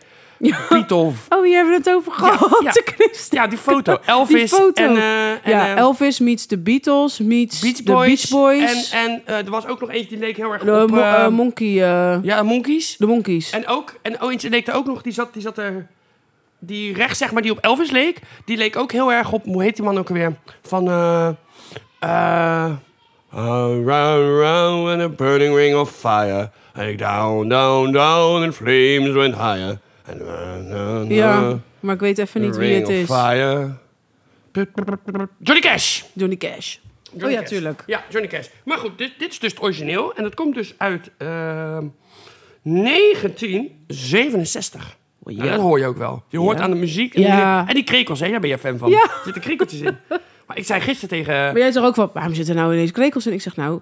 [SPEAKER 2] Beatle.
[SPEAKER 1] Oh, hier hebben we het over gehad.
[SPEAKER 2] ja.
[SPEAKER 1] de Christen.
[SPEAKER 2] Ja, die foto. Elvis
[SPEAKER 1] Die foto.
[SPEAKER 2] en... eh, en,
[SPEAKER 1] ja,
[SPEAKER 2] eh,
[SPEAKER 1] Elvis meets de Beatles meets
[SPEAKER 2] Beach
[SPEAKER 1] de
[SPEAKER 2] Boys.
[SPEAKER 1] Beach Boys.
[SPEAKER 2] En, en eh, er was ook nog eentje die leek heel erg
[SPEAKER 1] de
[SPEAKER 2] op...
[SPEAKER 1] mo-
[SPEAKER 2] eh,
[SPEAKER 1] eh, monkey, eh,
[SPEAKER 2] ja, Monkeys.
[SPEAKER 1] de Monkeys.
[SPEAKER 2] En ook, en oh, eentje leek er ook nog, die zat, die zat er. Die rechts, zeg maar, die op Elvis leek. Die leek ook heel erg op, hoe heet die man ook alweer? Van, eh. eh round, round in a burning ring of fire. And I down, down, down in flames went higher. And na, na, na,
[SPEAKER 1] ja, maar ik weet even niet wie
[SPEAKER 2] ring
[SPEAKER 1] het
[SPEAKER 2] Eh, of
[SPEAKER 1] is.
[SPEAKER 2] fire. Put, put, put, put, put. Johnny Cash!
[SPEAKER 1] Johnny Cash.
[SPEAKER 2] Johnny
[SPEAKER 1] oh ja,
[SPEAKER 2] Cash.
[SPEAKER 1] tuurlijk.
[SPEAKER 2] Ja, Johnny Cash. Maar goed, dit, dit is dus het origineel. En dat komt dus uit ehm, 1967.
[SPEAKER 1] Oh, ja.
[SPEAKER 2] Ja, dat hoor je ook wel. Je hoort
[SPEAKER 1] Ja.
[SPEAKER 2] aan de muziek. En,
[SPEAKER 1] Ja.
[SPEAKER 2] die, en die krekels, hè, daar ben je fan van.
[SPEAKER 1] Ja.
[SPEAKER 2] Er zitten krekeltjes in. Maar ik zei gisteren tegen...
[SPEAKER 1] Maar jij zegt ook wel, waarom zitten nou ineens krekels? En ik zeg nou,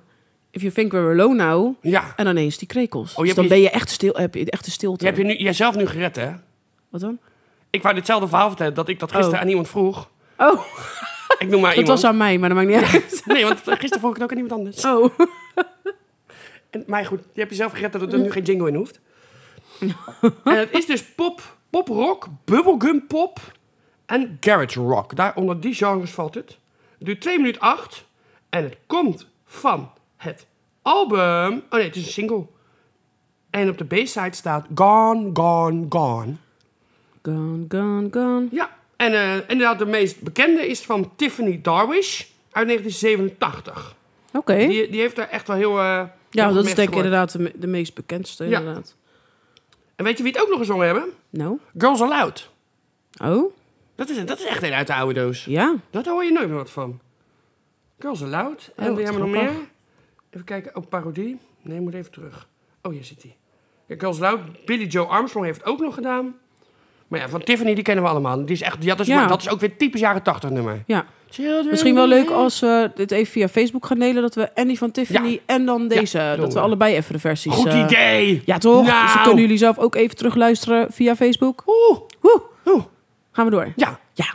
[SPEAKER 1] if you think we're alone now.
[SPEAKER 2] Ja,
[SPEAKER 1] En dan ineens die krekels.
[SPEAKER 2] Oh, je
[SPEAKER 1] dus
[SPEAKER 2] hebt
[SPEAKER 1] dan
[SPEAKER 2] je-
[SPEAKER 1] ben je echt stil, heb je echt de stilte.
[SPEAKER 2] je hebt je nu, jezelf nu gered, hè?
[SPEAKER 1] Wat dan?
[SPEAKER 2] Ik wou ditzelfde verhaal vertellen, dat ik dat gisteren
[SPEAKER 1] Oh.
[SPEAKER 2] aan iemand vroeg.
[SPEAKER 1] Oh,
[SPEAKER 2] Ik noem maar
[SPEAKER 1] dat
[SPEAKER 2] iemand.
[SPEAKER 1] was aan mij, maar dat maakt niet uit.
[SPEAKER 2] Nee, want gisteren vroeg ik het ook aan iemand anders.
[SPEAKER 1] Oh.
[SPEAKER 2] En, maar goed, je hebt jezelf gered dat er nu geen jingle in hoeft. en het is dus pop, poprock, bubblegum pop en garage rock. Daar onder die genres valt het. Het duurt 2 minuten 8 en het komt van het album... Oh nee, het is een single. En op de B-side staat Gone, Gone, Gone.
[SPEAKER 1] Gone, gone, gone.
[SPEAKER 2] Ja, en eh, inderdaad de meest bekende is van Tiffany Darwish uit 1987.
[SPEAKER 1] Oké.
[SPEAKER 2] Die, die heeft daar echt wel heel... eh, heel
[SPEAKER 1] Ja, dat is
[SPEAKER 2] gemerkt
[SPEAKER 1] denk ik
[SPEAKER 2] gehoord.
[SPEAKER 1] inderdaad de, me- de meest bekendste.
[SPEAKER 2] Ja.
[SPEAKER 1] Inderdaad.
[SPEAKER 2] En weet je wie het ook nog gezongen hebben?
[SPEAKER 1] Nou.
[SPEAKER 2] Girls Aloud.
[SPEAKER 1] Oh,
[SPEAKER 2] Dat is, dat is echt een uit de oude doos.
[SPEAKER 1] ja.
[SPEAKER 2] Dat hoor je nooit meer wat van. Girls Aloud. En
[SPEAKER 1] Oh,
[SPEAKER 2] wie
[SPEAKER 1] wat
[SPEAKER 2] hebben we nog
[SPEAKER 1] grappig.
[SPEAKER 2] meer? Even kijken. Oh, parodie. Nee, moet even terug. Oh, hier zit hij. Ja, Girls Aloud. Billy Joe Armstrong heeft het ook nog gedaan. Maar ja, van Tiffany, die kennen we allemaal. Die is echt, ja, dat, is
[SPEAKER 1] Ja.
[SPEAKER 2] maar, dat is ook weer typisch jaren 80 nummer.
[SPEAKER 1] Ja,
[SPEAKER 2] Children
[SPEAKER 1] misschien wel leuk
[SPEAKER 2] of-
[SPEAKER 1] als we dit even via Facebook gaan delen. Dat we en die van Tiffany
[SPEAKER 2] Ja.
[SPEAKER 1] en dan deze.
[SPEAKER 2] doen
[SPEAKER 1] dat we
[SPEAKER 2] we.
[SPEAKER 1] allebei even de versies...
[SPEAKER 2] Goed
[SPEAKER 1] eh,
[SPEAKER 2] idee!
[SPEAKER 1] Ja, toch?
[SPEAKER 2] Nou.
[SPEAKER 1] Dus dan kunnen jullie zelf ook even terugluisteren via Facebook.
[SPEAKER 2] Oeh,
[SPEAKER 1] Woe,
[SPEAKER 2] oeh.
[SPEAKER 1] gaan we door.
[SPEAKER 2] Ja,
[SPEAKER 1] Ja.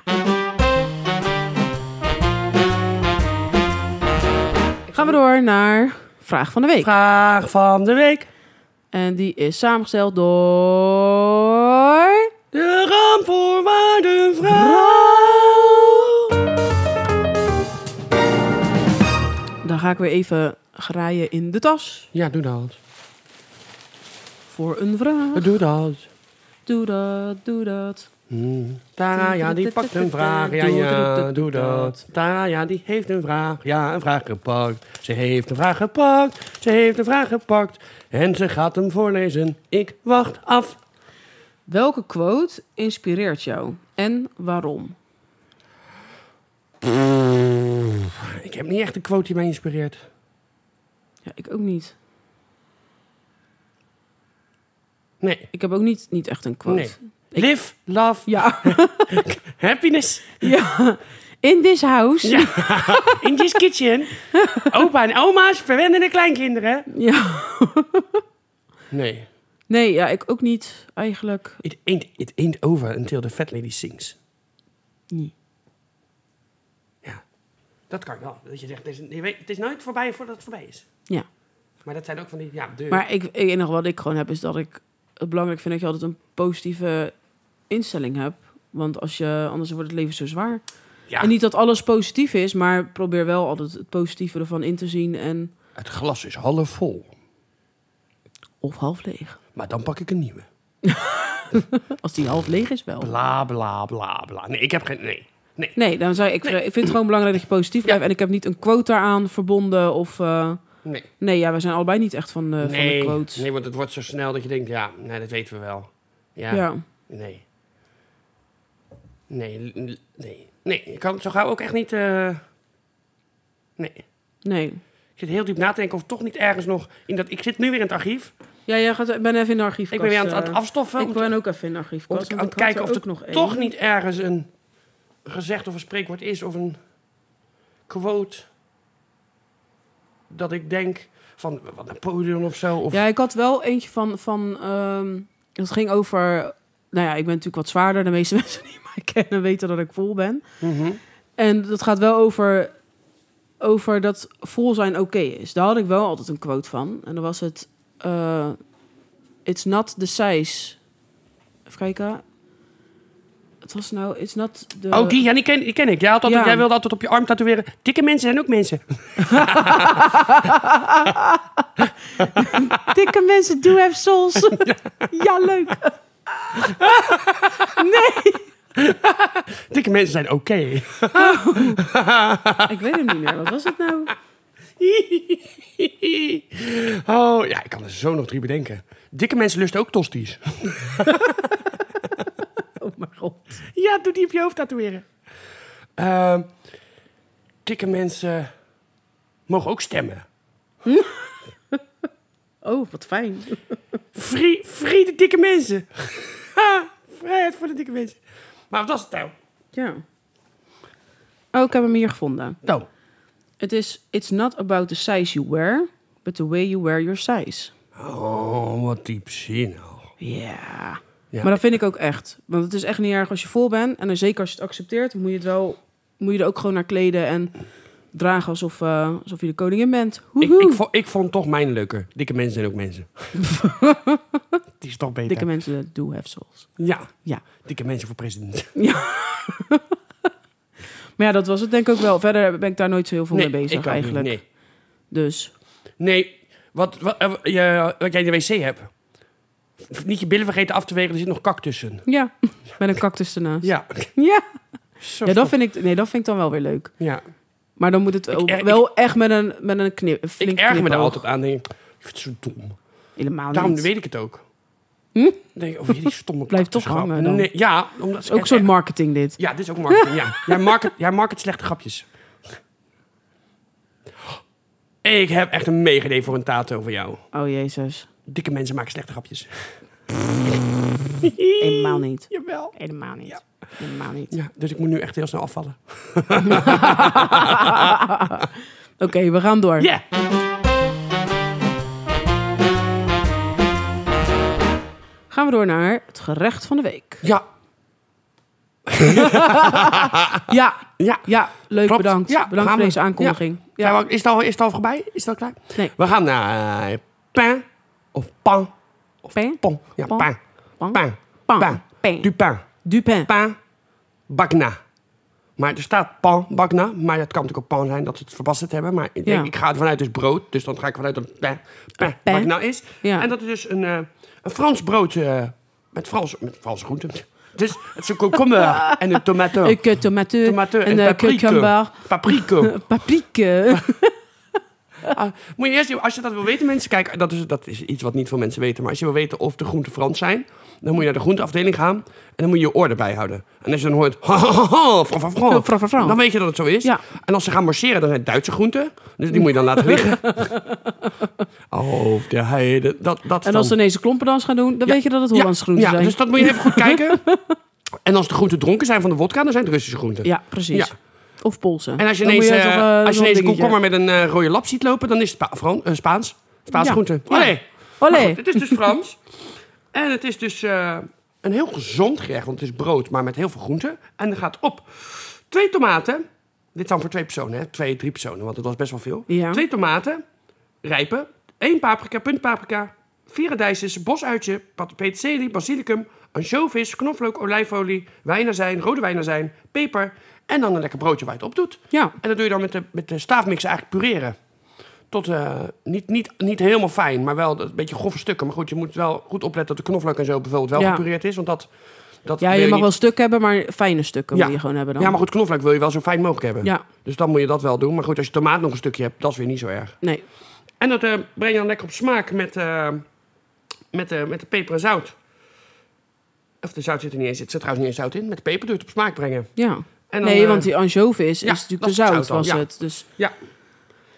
[SPEAKER 1] Gaan we door naar vraag van de week.
[SPEAKER 2] vraag van de week.
[SPEAKER 1] En die is samengesteld door...
[SPEAKER 2] De raamvoorwaardenvrouw.
[SPEAKER 1] Dan ga ik weer even graaien in de tas
[SPEAKER 2] Ja, doe dat.
[SPEAKER 1] voor een vraag.
[SPEAKER 2] Doe dat.
[SPEAKER 1] Doe dat, doe dat.
[SPEAKER 2] Tara, ja, die pakt een vraag. Ja, ja, doe dat. Tara, ja, die heeft een vraag. Ja, een vraag gepakt. Ze heeft een vraag gepakt. Ze heeft een vraag gepakt. En ze gaat hem voorlezen. Ik wacht af.
[SPEAKER 1] Welke quote inspireert jou en waarom?
[SPEAKER 2] Ik heb niet echt een quote die mij inspireert.
[SPEAKER 1] Ja, ik ook niet.
[SPEAKER 2] Nee.
[SPEAKER 1] Ik heb ook niet, niet echt een quote.
[SPEAKER 2] Nee. Live, love,
[SPEAKER 1] Ja.
[SPEAKER 2] happiness.
[SPEAKER 1] ja. In this house.
[SPEAKER 2] Ja. In this kitchen. Opa en oma's verwennen de kleinkinderen.
[SPEAKER 1] Ja.
[SPEAKER 2] Nee.
[SPEAKER 1] Nee, ja, ik ook niet eigenlijk.
[SPEAKER 2] It ain't, it ain't over until the fat lady sings.
[SPEAKER 1] Nee.
[SPEAKER 2] Ja. Dat kan wel. Dat je zegt, het is, je weet- het is nooit voorbij voordat het voorbij is.
[SPEAKER 1] Ja.
[SPEAKER 2] Maar dat zijn ook van die, ja, deur.
[SPEAKER 1] Maar ik, het enige wat ik gewoon heb is dat ik het belangrijk vind dat je altijd een positieve instelling hebt. Want als je, anders wordt het leven zo zwaar.
[SPEAKER 2] ja,
[SPEAKER 1] En niet dat alles positief is, maar probeer wel altijd het positieve ervan in te zien en
[SPEAKER 2] het glas is half vol.
[SPEAKER 1] of half leeg.
[SPEAKER 2] Maar dan pak ik een nieuwe.
[SPEAKER 1] Als die half leeg is wel.
[SPEAKER 2] Bla, bla, bla, bla. Nee, ik heb geen, nee. Nee.
[SPEAKER 1] Nee, dan zou ik, ik vind het gewoon belangrijk dat je positief blijft. En ik heb niet een quote daaraan verbonden of eh,
[SPEAKER 2] Nee.
[SPEAKER 1] nee, ja, we zijn allebei niet echt van, eh, van de
[SPEAKER 2] Nee.
[SPEAKER 1] quotes.
[SPEAKER 2] nee, want het wordt zo snel dat je denkt, ja, nee, dat weten we wel. Ja.
[SPEAKER 1] Ja.
[SPEAKER 2] Nee. Nee, l- l- nee. Nee, ik kan het zo gauw ook echt niet, eh, nee.
[SPEAKER 1] Nee.
[SPEAKER 2] Ik zit heel diep na te denken of toch niet ergens nog in dat. Ik zit nu weer in het archief.
[SPEAKER 1] Ja, jij gaat, ik ben even in de archief.
[SPEAKER 2] Ik ben weer aan het, aan het afstoffen.
[SPEAKER 1] Ik
[SPEAKER 2] om
[SPEAKER 1] ben
[SPEAKER 2] te-
[SPEAKER 1] ook even in de archief.
[SPEAKER 2] om te aan het kijken of er
[SPEAKER 1] ook nog één.
[SPEAKER 2] toch niet ergens een gezegd of een spreekwoord is of een quote. Dat ik denk van wat Napoleon of zo. Of,
[SPEAKER 1] Ja, ik had wel eentje van. van ehm, dat ging over. Nou ja, ik ben natuurlijk wat zwaarder. De meeste mensen die mij kennen weten dat ik vol ben.
[SPEAKER 2] Mhm.
[SPEAKER 1] En dat gaat wel over. Over dat vol zijn oké is. Daar had ik wel altijd een quote van. En dan was het. eh, it's not the size. Even kijken. Het was nou. It's not the.
[SPEAKER 2] Oh, die, ja, die ken, die ken ik. Jij, had altijd,
[SPEAKER 1] Ja.
[SPEAKER 2] jij wilde altijd op je arm tatoeëren. Dikke mensen zijn ook mensen.
[SPEAKER 1] Dikke mensen do have souls. ja, leuk.
[SPEAKER 2] Dikke mensen zijn oké.
[SPEAKER 1] Ik weet hem niet meer. Wat was het nou?
[SPEAKER 2] oh, ja, ik kan er zo nog drie bedenken. Dikke mensen lusten ook tosti's.
[SPEAKER 1] Oh mijn god.
[SPEAKER 2] Ja, doe die op je hoofd tatoeëren. Ehm, dikke mensen mogen ook stemmen.
[SPEAKER 1] Oh, wat fijn.
[SPEAKER 2] Free, free de dikke mensen. vrijheid voor de dikke mensen. Maar wat was het nou?
[SPEAKER 1] Ja. Oh, ik heb hem hier gevonden.
[SPEAKER 2] Nou,
[SPEAKER 1] Het is, it's not about the size you wear, but the way you wear your size.
[SPEAKER 2] Oh, wat diepzinnig.
[SPEAKER 1] Ja.
[SPEAKER 2] Ja.
[SPEAKER 1] Maar dat vind ik ook echt. Want het is echt niet erg als je vol bent. En dan zeker als je het accepteert, moet je, het wel, moet je er ook gewoon naar kleden en dragen alsof, eh, alsof je de koningin bent.
[SPEAKER 2] Ik,
[SPEAKER 1] Hoehoe.
[SPEAKER 2] ik, vond, ik vond toch mijn leuker. Dikke mensen zijn ook mensen. Die is toch beter.
[SPEAKER 1] Dikke mensen do have souls.
[SPEAKER 2] ja.
[SPEAKER 1] Ja.
[SPEAKER 2] Dikke mensen voor president.
[SPEAKER 1] Maar ja, dat was het denk ik ook wel. Verder ben ik daar nooit zo heel veel mee bezig
[SPEAKER 2] ook
[SPEAKER 1] eigenlijk.
[SPEAKER 2] Niet,
[SPEAKER 1] Dus
[SPEAKER 2] nee. nee. Wat, wat, eh, wat je, wat jij in de wc hebt. F- Niet je billen vergeten af te wegen, er zit nog kak tussen.
[SPEAKER 1] ja, met een cactus ernaast.
[SPEAKER 2] Ja.
[SPEAKER 1] Ja,
[SPEAKER 2] Zo
[SPEAKER 1] ja dat,
[SPEAKER 2] stom.
[SPEAKER 1] vind ik, nee, dat vind ik dan wel weer leuk.
[SPEAKER 2] ja.
[SPEAKER 1] Maar dan moet het
[SPEAKER 2] Ik erg-
[SPEAKER 1] wel echt met een, met een knip. Een
[SPEAKER 2] Ik
[SPEAKER 1] flink
[SPEAKER 2] erger me daar
[SPEAKER 1] knipoog.
[SPEAKER 2] altijd aan. Denk, ik, ik vind het zo dom.
[SPEAKER 1] Helemaal niet.
[SPEAKER 2] Daarom weet ik het ook.
[SPEAKER 1] Hm?
[SPEAKER 2] Denk, ik, oh, die stomme
[SPEAKER 1] Blijft toch
[SPEAKER 2] kaktusgrap.
[SPEAKER 1] hangen dan.
[SPEAKER 2] Nee, ja, omdat
[SPEAKER 1] Het is ook zo'n marketing dit.
[SPEAKER 2] Ja, dit is ook marketing. ja. Jij market, jij market slechte grapjes. Ik heb echt een mega idee voor een tato voor jou.
[SPEAKER 1] Oh jezus.
[SPEAKER 2] Dikke mensen maken slechte grapjes.
[SPEAKER 1] Helemaal niet.
[SPEAKER 2] Jawel.
[SPEAKER 1] Helemaal niet.
[SPEAKER 2] Ja.
[SPEAKER 1] Helemaal niet.
[SPEAKER 2] Ja, dus ik moet nu echt heel snel afvallen.
[SPEAKER 1] Oké, we gaan door.
[SPEAKER 2] Ja.
[SPEAKER 1] Gaan we door naar het gerecht van de week.
[SPEAKER 2] Ja.
[SPEAKER 1] Ja,
[SPEAKER 2] Ja.
[SPEAKER 1] ja leuk,
[SPEAKER 2] Klopt.
[SPEAKER 1] bedankt.
[SPEAKER 2] Ja,
[SPEAKER 1] bedankt
[SPEAKER 2] gaan
[SPEAKER 1] voor
[SPEAKER 2] we.
[SPEAKER 1] deze aankondiging. Ja.
[SPEAKER 2] Zijn we- Is, het al, is het al voorbij? Is het al klaar?
[SPEAKER 1] Nee.
[SPEAKER 2] We gaan naar eh, pain of pan.
[SPEAKER 1] Pain?
[SPEAKER 2] Pon. Ja,
[SPEAKER 1] Pan.
[SPEAKER 2] pain.
[SPEAKER 1] Pan?
[SPEAKER 2] Pain.
[SPEAKER 1] Pan.
[SPEAKER 2] Pain.
[SPEAKER 1] Pain.
[SPEAKER 2] Du pain.
[SPEAKER 1] Dupin.
[SPEAKER 2] Pain. Bagna. Maar er staat pan, bagna. Maar het kan natuurlijk ook pan zijn dat ze het verbasterd hebben. Maar ik,
[SPEAKER 1] Ja.
[SPEAKER 2] ik ga ervan uit dus brood. Dus dan ga ik vanuit dat het pain, pain,
[SPEAKER 1] Pain.
[SPEAKER 2] bagna is.
[SPEAKER 1] Ja.
[SPEAKER 2] En dat is dus een, eh, een Frans brood eh, met, Frans, met Franse groenten. Dus het is een komkommer en een tomato.
[SPEAKER 1] Een eh, tomateur.
[SPEAKER 2] Tomato en
[SPEAKER 1] Een eh,
[SPEAKER 2] paprika.
[SPEAKER 1] cucumber.
[SPEAKER 2] Paprika.
[SPEAKER 1] Een paprika.
[SPEAKER 2] Ah, moet je eerst, even- als je dat wil weten, mensen, kijk, dat is, dat is iets wat niet veel mensen weten. Maar als je wil weten of de groenten Frans zijn, dan moet je naar de groenteafdeling gaan. En dan moet je je oor bijhouden. En als je dan hoort, ha, ha, ha, ha, fra, fra, fra,
[SPEAKER 1] Ja, fra, fra, fra.
[SPEAKER 2] dan weet je dat het zo is.
[SPEAKER 1] Ja.
[SPEAKER 2] En als ze gaan marcheren, dan zijn het Duitse groenten. Dus die moet je dan laten liggen. Over de heide. Dat, dat
[SPEAKER 1] En als ze
[SPEAKER 2] dan.
[SPEAKER 1] ineens een klompendans gaan doen, dan weet je dat het
[SPEAKER 2] Ja,
[SPEAKER 1] Hollands groenten
[SPEAKER 2] ja,
[SPEAKER 1] zijn.
[SPEAKER 2] dus dat moet je even goed kijken. En als de groenten dronken zijn van de wodka, dan zijn het Russische groenten.
[SPEAKER 1] Ja, precies.
[SPEAKER 2] Ja.
[SPEAKER 1] Of Polsen.
[SPEAKER 2] En als je
[SPEAKER 1] Dan
[SPEAKER 2] ineens,
[SPEAKER 1] moet
[SPEAKER 2] eh,
[SPEAKER 1] toch, eh,
[SPEAKER 2] als je
[SPEAKER 1] zo'n
[SPEAKER 2] ineens een
[SPEAKER 1] dingetje.
[SPEAKER 2] komkommer met een eh, rode lap ziet lopen, dan is het Spa- Fran- eh, Spaans. Spaans
[SPEAKER 1] Ja.
[SPEAKER 2] groente.
[SPEAKER 1] Ja.
[SPEAKER 2] Allee.
[SPEAKER 1] Olé.
[SPEAKER 2] Maar goed, het is dus Frans. en het is dus eh, een heel gezond gerecht, want het is brood, maar met heel veel groenten. En er gaat op twee tomaten. Dit zijn voor twee personen, hè? Twee, drie personen, want het was best wel veel.
[SPEAKER 1] Ja.
[SPEAKER 2] Twee tomaten, rijpen. één paprika, puntpaprika. Vier radijsjes, bosuitje, pat- peterselie, basilicum, anchovis, knoflook, olijfolie, wijnazijn, rode wijnazijn, peper. En dan een lekker broodje waar je het op doet.
[SPEAKER 1] Ja.
[SPEAKER 2] En dat doe je dan met de, met de staafmixer eigenlijk pureren. Tot eh, niet, niet, niet helemaal fijn, maar wel een beetje grove stukken. Maar goed, je moet wel goed opletten dat de knoflook en zo bijvoorbeeld wel
[SPEAKER 1] Ja.
[SPEAKER 2] gepureerd is. Want dat, dat
[SPEAKER 1] ja,
[SPEAKER 2] wil
[SPEAKER 1] je mag
[SPEAKER 2] niet-
[SPEAKER 1] wel stukken hebben, maar fijne stukken
[SPEAKER 2] Ja.
[SPEAKER 1] moet je gewoon hebben dan.
[SPEAKER 2] Ja, maar goed, knoflook wil je wel zo fijn mogelijk hebben.
[SPEAKER 1] Ja.
[SPEAKER 2] Dus dan moet je dat wel doen. Maar goed, als je tomaat nog een stukje hebt, dat is weer niet zo erg.
[SPEAKER 1] Nee.
[SPEAKER 2] En dat eh, breng je dan lekker op smaak met, eh, met, eh, met de peper en zout. Of de zout zit er niet eens in. Er zit trouwens niet eens zout in. Met de peper doe je het op smaak brengen.
[SPEAKER 1] Ja.
[SPEAKER 2] En dan,
[SPEAKER 1] nee,
[SPEAKER 2] eh,
[SPEAKER 1] want die anchovis
[SPEAKER 2] ja,
[SPEAKER 1] is natuurlijk
[SPEAKER 2] dat
[SPEAKER 1] te
[SPEAKER 2] is het
[SPEAKER 1] zout,
[SPEAKER 2] zout dan,
[SPEAKER 1] was
[SPEAKER 2] ja.
[SPEAKER 1] het. Dus
[SPEAKER 2] Ja,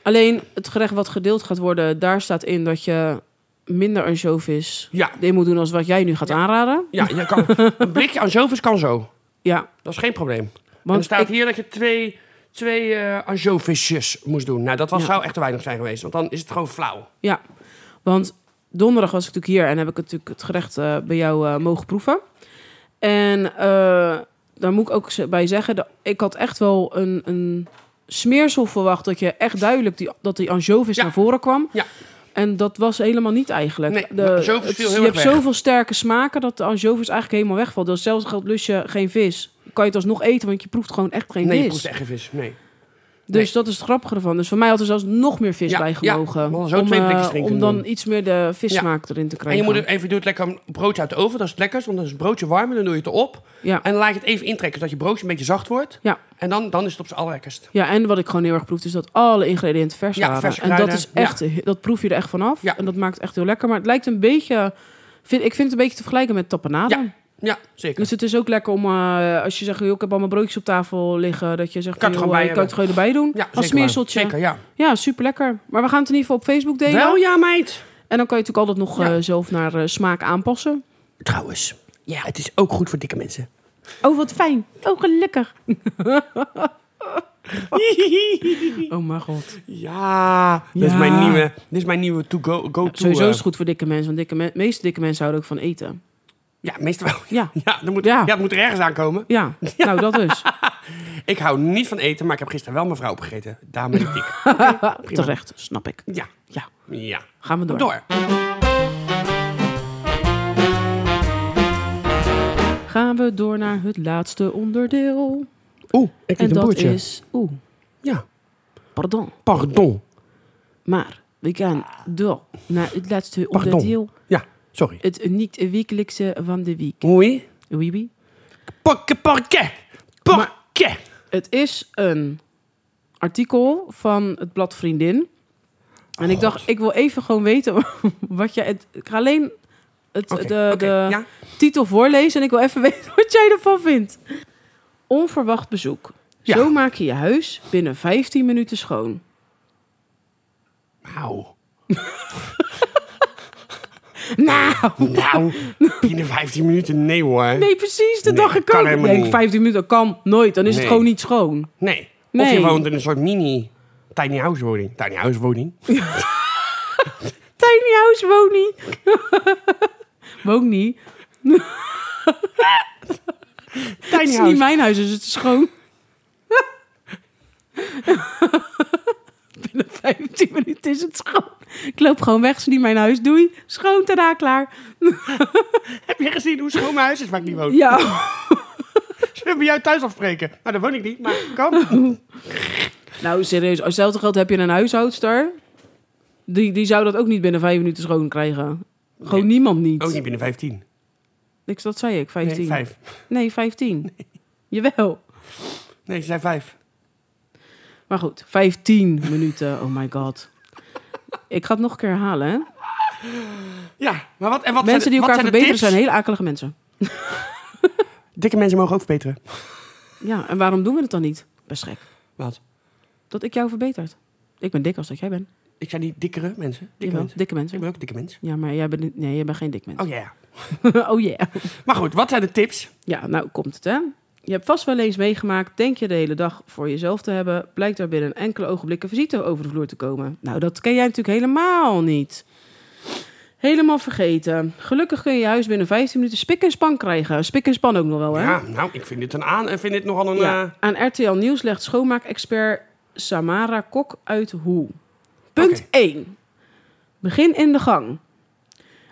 [SPEAKER 1] alleen het gerecht wat gedeeld gaat worden, daar staat in dat je minder anchovis
[SPEAKER 2] ja,
[SPEAKER 1] in moet doen als wat jij nu gaat aanraden.
[SPEAKER 2] ja je kan, een blikje anchovies kan zo.
[SPEAKER 1] Ja,
[SPEAKER 2] Dat is geen probleem. Want
[SPEAKER 1] want
[SPEAKER 2] er staat
[SPEAKER 1] ik-
[SPEAKER 2] hier dat je twee, twee eh anchovisjes moest doen. Nou, dat was,
[SPEAKER 1] Ja.
[SPEAKER 2] zou echt te weinig zijn geweest. Want dan is het gewoon flauw.
[SPEAKER 1] Ja, want donderdag was ik natuurlijk hier en heb ik natuurlijk het gerecht eh, bij jou eh, mogen proeven. En eh, daar moet ik ook z- bij zeggen, dat ik had echt wel een, een smeersel verwacht dat je echt duidelijk die, dat die anchovies
[SPEAKER 2] Ja.
[SPEAKER 1] naar voren kwam.
[SPEAKER 2] Ja.
[SPEAKER 1] En dat was helemaal niet eigenlijk.
[SPEAKER 2] Nee, de anchovies viel heel
[SPEAKER 1] je
[SPEAKER 2] erg
[SPEAKER 1] hebt
[SPEAKER 2] weg.
[SPEAKER 1] zoveel sterke smaken dat de anchovies eigenlijk helemaal wegvalt. Dus zelfs geldt lust je geen vis. Kan je het alsnog eten, want je proeft gewoon echt geen
[SPEAKER 2] Nee, je
[SPEAKER 1] vis.
[SPEAKER 2] proeft echt geen vis. Nee.
[SPEAKER 1] Dus
[SPEAKER 2] Nee.
[SPEAKER 1] dat is het grappige ervan. Dus voor mij had er zelfs nog meer vis
[SPEAKER 2] Ja,
[SPEAKER 1] bij
[SPEAKER 2] ja.
[SPEAKER 1] gemogen.
[SPEAKER 2] We hadden zo twee
[SPEAKER 1] eh,
[SPEAKER 2] blikjes erin
[SPEAKER 1] om
[SPEAKER 2] kunnen
[SPEAKER 1] dan
[SPEAKER 2] doen.
[SPEAKER 1] iets meer de vissmaak erin te
[SPEAKER 2] En
[SPEAKER 1] krijgen.
[SPEAKER 2] je moet het even, je doet lekker een broodje uit de oven. Dat is het lekkerst, want dan is het broodje warm. En dan doe je het erop.
[SPEAKER 1] ja.
[SPEAKER 2] En dan laat je het even intrekken, zodat je broodje een beetje zacht wordt.
[SPEAKER 1] Ja.
[SPEAKER 2] En dan, dan is het op zijn allerlekkerst.
[SPEAKER 1] ja, en wat ik gewoon heel erg proefde is dat alle ingrediënten vers
[SPEAKER 2] Ja,
[SPEAKER 1] waren.
[SPEAKER 2] verse
[SPEAKER 1] en dat,
[SPEAKER 2] kruiden.
[SPEAKER 1] is echt, dat proef je er echt vanaf.
[SPEAKER 2] Ja.
[SPEAKER 1] En dat maakt het echt heel lekker. Maar het lijkt een beetje... Vind, ik vind het een beetje te vergelijken met tapenade.
[SPEAKER 2] Ja, ja zeker.
[SPEAKER 1] Dus het is ook lekker om, eh, als je zegt, joh, ik heb allemaal broodjes op tafel liggen, dat je zegt,
[SPEAKER 2] Kan het
[SPEAKER 1] joh,
[SPEAKER 2] gewoon bij
[SPEAKER 1] eh, kan het gewoon erbij doen. Als
[SPEAKER 2] Ja, zeker waar.
[SPEAKER 1] smeerseltje.
[SPEAKER 2] Zeker, ja.
[SPEAKER 1] Ja, super lekker. Maar we gaan het in ieder geval op Facebook delen.
[SPEAKER 2] Wel ja, meid.
[SPEAKER 1] En dan kan je natuurlijk altijd nog
[SPEAKER 2] Ja.
[SPEAKER 1] eh, zelf naar eh, smaak aanpassen.
[SPEAKER 2] Trouwens,
[SPEAKER 1] Ja.
[SPEAKER 2] Het is ook goed voor dikke mensen.
[SPEAKER 1] Oh, wat fijn. Oh, gelukkig. Oh, mijn god.
[SPEAKER 2] ja, dit is
[SPEAKER 1] Ja.
[SPEAKER 2] mijn nieuwe, dit is mijn nieuwe to go, go to.
[SPEAKER 1] Sowieso
[SPEAKER 2] eh,
[SPEAKER 1] is het goed voor dikke mensen, want dikke men- meeste dikke mensen houden ook van eten.
[SPEAKER 2] Ja, meestal wel.
[SPEAKER 1] Ja.
[SPEAKER 2] Ja, dan moet, ja.
[SPEAKER 1] Ja.
[SPEAKER 2] het moet er ergens aankomen.
[SPEAKER 1] Ja, nou dat dus.
[SPEAKER 2] Ik hou niet van eten, maar ik heb gisteren wel mijn vrouw opgegeten. Daarom ben ik dik.
[SPEAKER 1] Terecht, snap ik.
[SPEAKER 2] Ja,
[SPEAKER 1] Ja,
[SPEAKER 2] ja.
[SPEAKER 1] gaan we door.
[SPEAKER 2] Door.
[SPEAKER 1] Gaan we door naar het laatste onderdeel.
[SPEAKER 2] Oeh, ik
[SPEAKER 1] En
[SPEAKER 2] eet een
[SPEAKER 1] dat
[SPEAKER 2] boertje.
[SPEAKER 1] is... Oeh,
[SPEAKER 2] Ja,
[SPEAKER 1] pardon.
[SPEAKER 2] pardon.
[SPEAKER 1] Maar we gaan door naar het laatste
[SPEAKER 2] Pardon.
[SPEAKER 1] onderdeel.
[SPEAKER 2] Ja, sorry.
[SPEAKER 1] Het niet-wekelijkse van de week.
[SPEAKER 2] Oei.
[SPEAKER 1] Oui, oui.
[SPEAKER 2] Pakke, pakke. Pakke.
[SPEAKER 1] Het is een artikel van het blad Vriendin. En ik dacht, ik wil even gewoon weten wat jij... Het, ik ga alleen het,
[SPEAKER 2] Oh, Oké,
[SPEAKER 1] de,
[SPEAKER 2] oké,
[SPEAKER 1] de
[SPEAKER 2] ja.
[SPEAKER 1] titel voorlezen en ik wil even weten wat jij ervan vindt. Onverwacht bezoek.
[SPEAKER 2] Ja.
[SPEAKER 1] Zo maak je je huis binnen 15 minuten schoon.
[SPEAKER 2] Nou.
[SPEAKER 1] Nou,
[SPEAKER 2] Nou, binnen 15 minuten, nee hoor.
[SPEAKER 1] nee, precies. Dat
[SPEAKER 2] Nee,
[SPEAKER 1] dacht ik
[SPEAKER 2] kan
[SPEAKER 1] ook. Ik
[SPEAKER 2] helemaal
[SPEAKER 1] denk,
[SPEAKER 2] niet.
[SPEAKER 1] 15 minuten kan nooit. Dan is
[SPEAKER 2] Nee.
[SPEAKER 1] het gewoon niet schoon.
[SPEAKER 2] Nee. Of
[SPEAKER 1] Nee.
[SPEAKER 2] je woont in een soort mini tiny house woning. Tiny house woning.
[SPEAKER 1] Tiny house woont niet. woont niet. Het
[SPEAKER 2] Tiny
[SPEAKER 1] is niet
[SPEAKER 2] house.
[SPEAKER 1] mijn huis, dus het is schoon. Binnen 15 minuten is het schoon. Ik loop gewoon weg, is niet mijn huis. Doei. Schoon, tada, klaar.
[SPEAKER 2] Heb je gezien hoe schoon mijn huis is waar ik niet woon?
[SPEAKER 1] Ja.
[SPEAKER 2] Zullen we bij jou thuis afspreken? Nou, daar woon ik niet, maar kan.
[SPEAKER 1] Nou, serieus. Als hetzelfde geld heb je een huishoudster. Die, die zou dat ook niet binnen 5 minuten schoon krijgen. Gewoon
[SPEAKER 2] Nee.
[SPEAKER 1] niemand niet.
[SPEAKER 2] Ook Oh, niet binnen 15.
[SPEAKER 1] Niks, dat zei ik. 15.
[SPEAKER 2] Nee, 5.
[SPEAKER 1] Nee, 15. Jawel.
[SPEAKER 2] Nee, ze zijn 5.
[SPEAKER 1] Maar goed, 15 minuten. Oh my god. Ik ga het nog een keer herhalen. Hè?
[SPEAKER 2] Ja, maar wat, en wat
[SPEAKER 1] Mensen die
[SPEAKER 2] zijn,
[SPEAKER 1] elkaar
[SPEAKER 2] wat zijn
[SPEAKER 1] verbeteren
[SPEAKER 2] de tips?
[SPEAKER 1] zijn hele akelige mensen.
[SPEAKER 2] Dikke mensen mogen ook verbeteren.
[SPEAKER 1] Ja, en waarom doen we het dan niet? Best gek.
[SPEAKER 2] Wat?
[SPEAKER 1] Dat ik jou verbetert. Ik ben dik als dat jij bent.
[SPEAKER 2] Ik zijn niet dikkere mensen. Dikke
[SPEAKER 1] Jawel,
[SPEAKER 2] mensen.
[SPEAKER 1] dikke mensen.
[SPEAKER 2] Ik ben ook een dikke mens.
[SPEAKER 1] Ja, maar jij bent, niet- nee, jij bent geen dik mens.
[SPEAKER 2] Oh ja.
[SPEAKER 1] oh yeah.
[SPEAKER 2] Maar goed, wat zijn de tips?
[SPEAKER 1] Ja, nou komt het hè. Je hebt vast wel eens meegemaakt, denk je de hele dag voor jezelf te hebben, blijkt daar binnen enkele ogenblikken visite over de vloer te komen. Nou, dat ken jij natuurlijk helemaal niet. Helemaal vergeten. Gelukkig kun je je huis binnen 15 minuten spik en span krijgen. Spik en span ook nog wel, Oh, hè?
[SPEAKER 2] Ja, nou, ik vind dit, een aan, ik vind dit nogal een...
[SPEAKER 1] Ja.
[SPEAKER 2] eh,
[SPEAKER 1] Aan RTL Nieuws legt schoonmaakexpert Samara Kok uit hoe. Punt
[SPEAKER 2] Oké.
[SPEAKER 1] 1. Begin in de gang.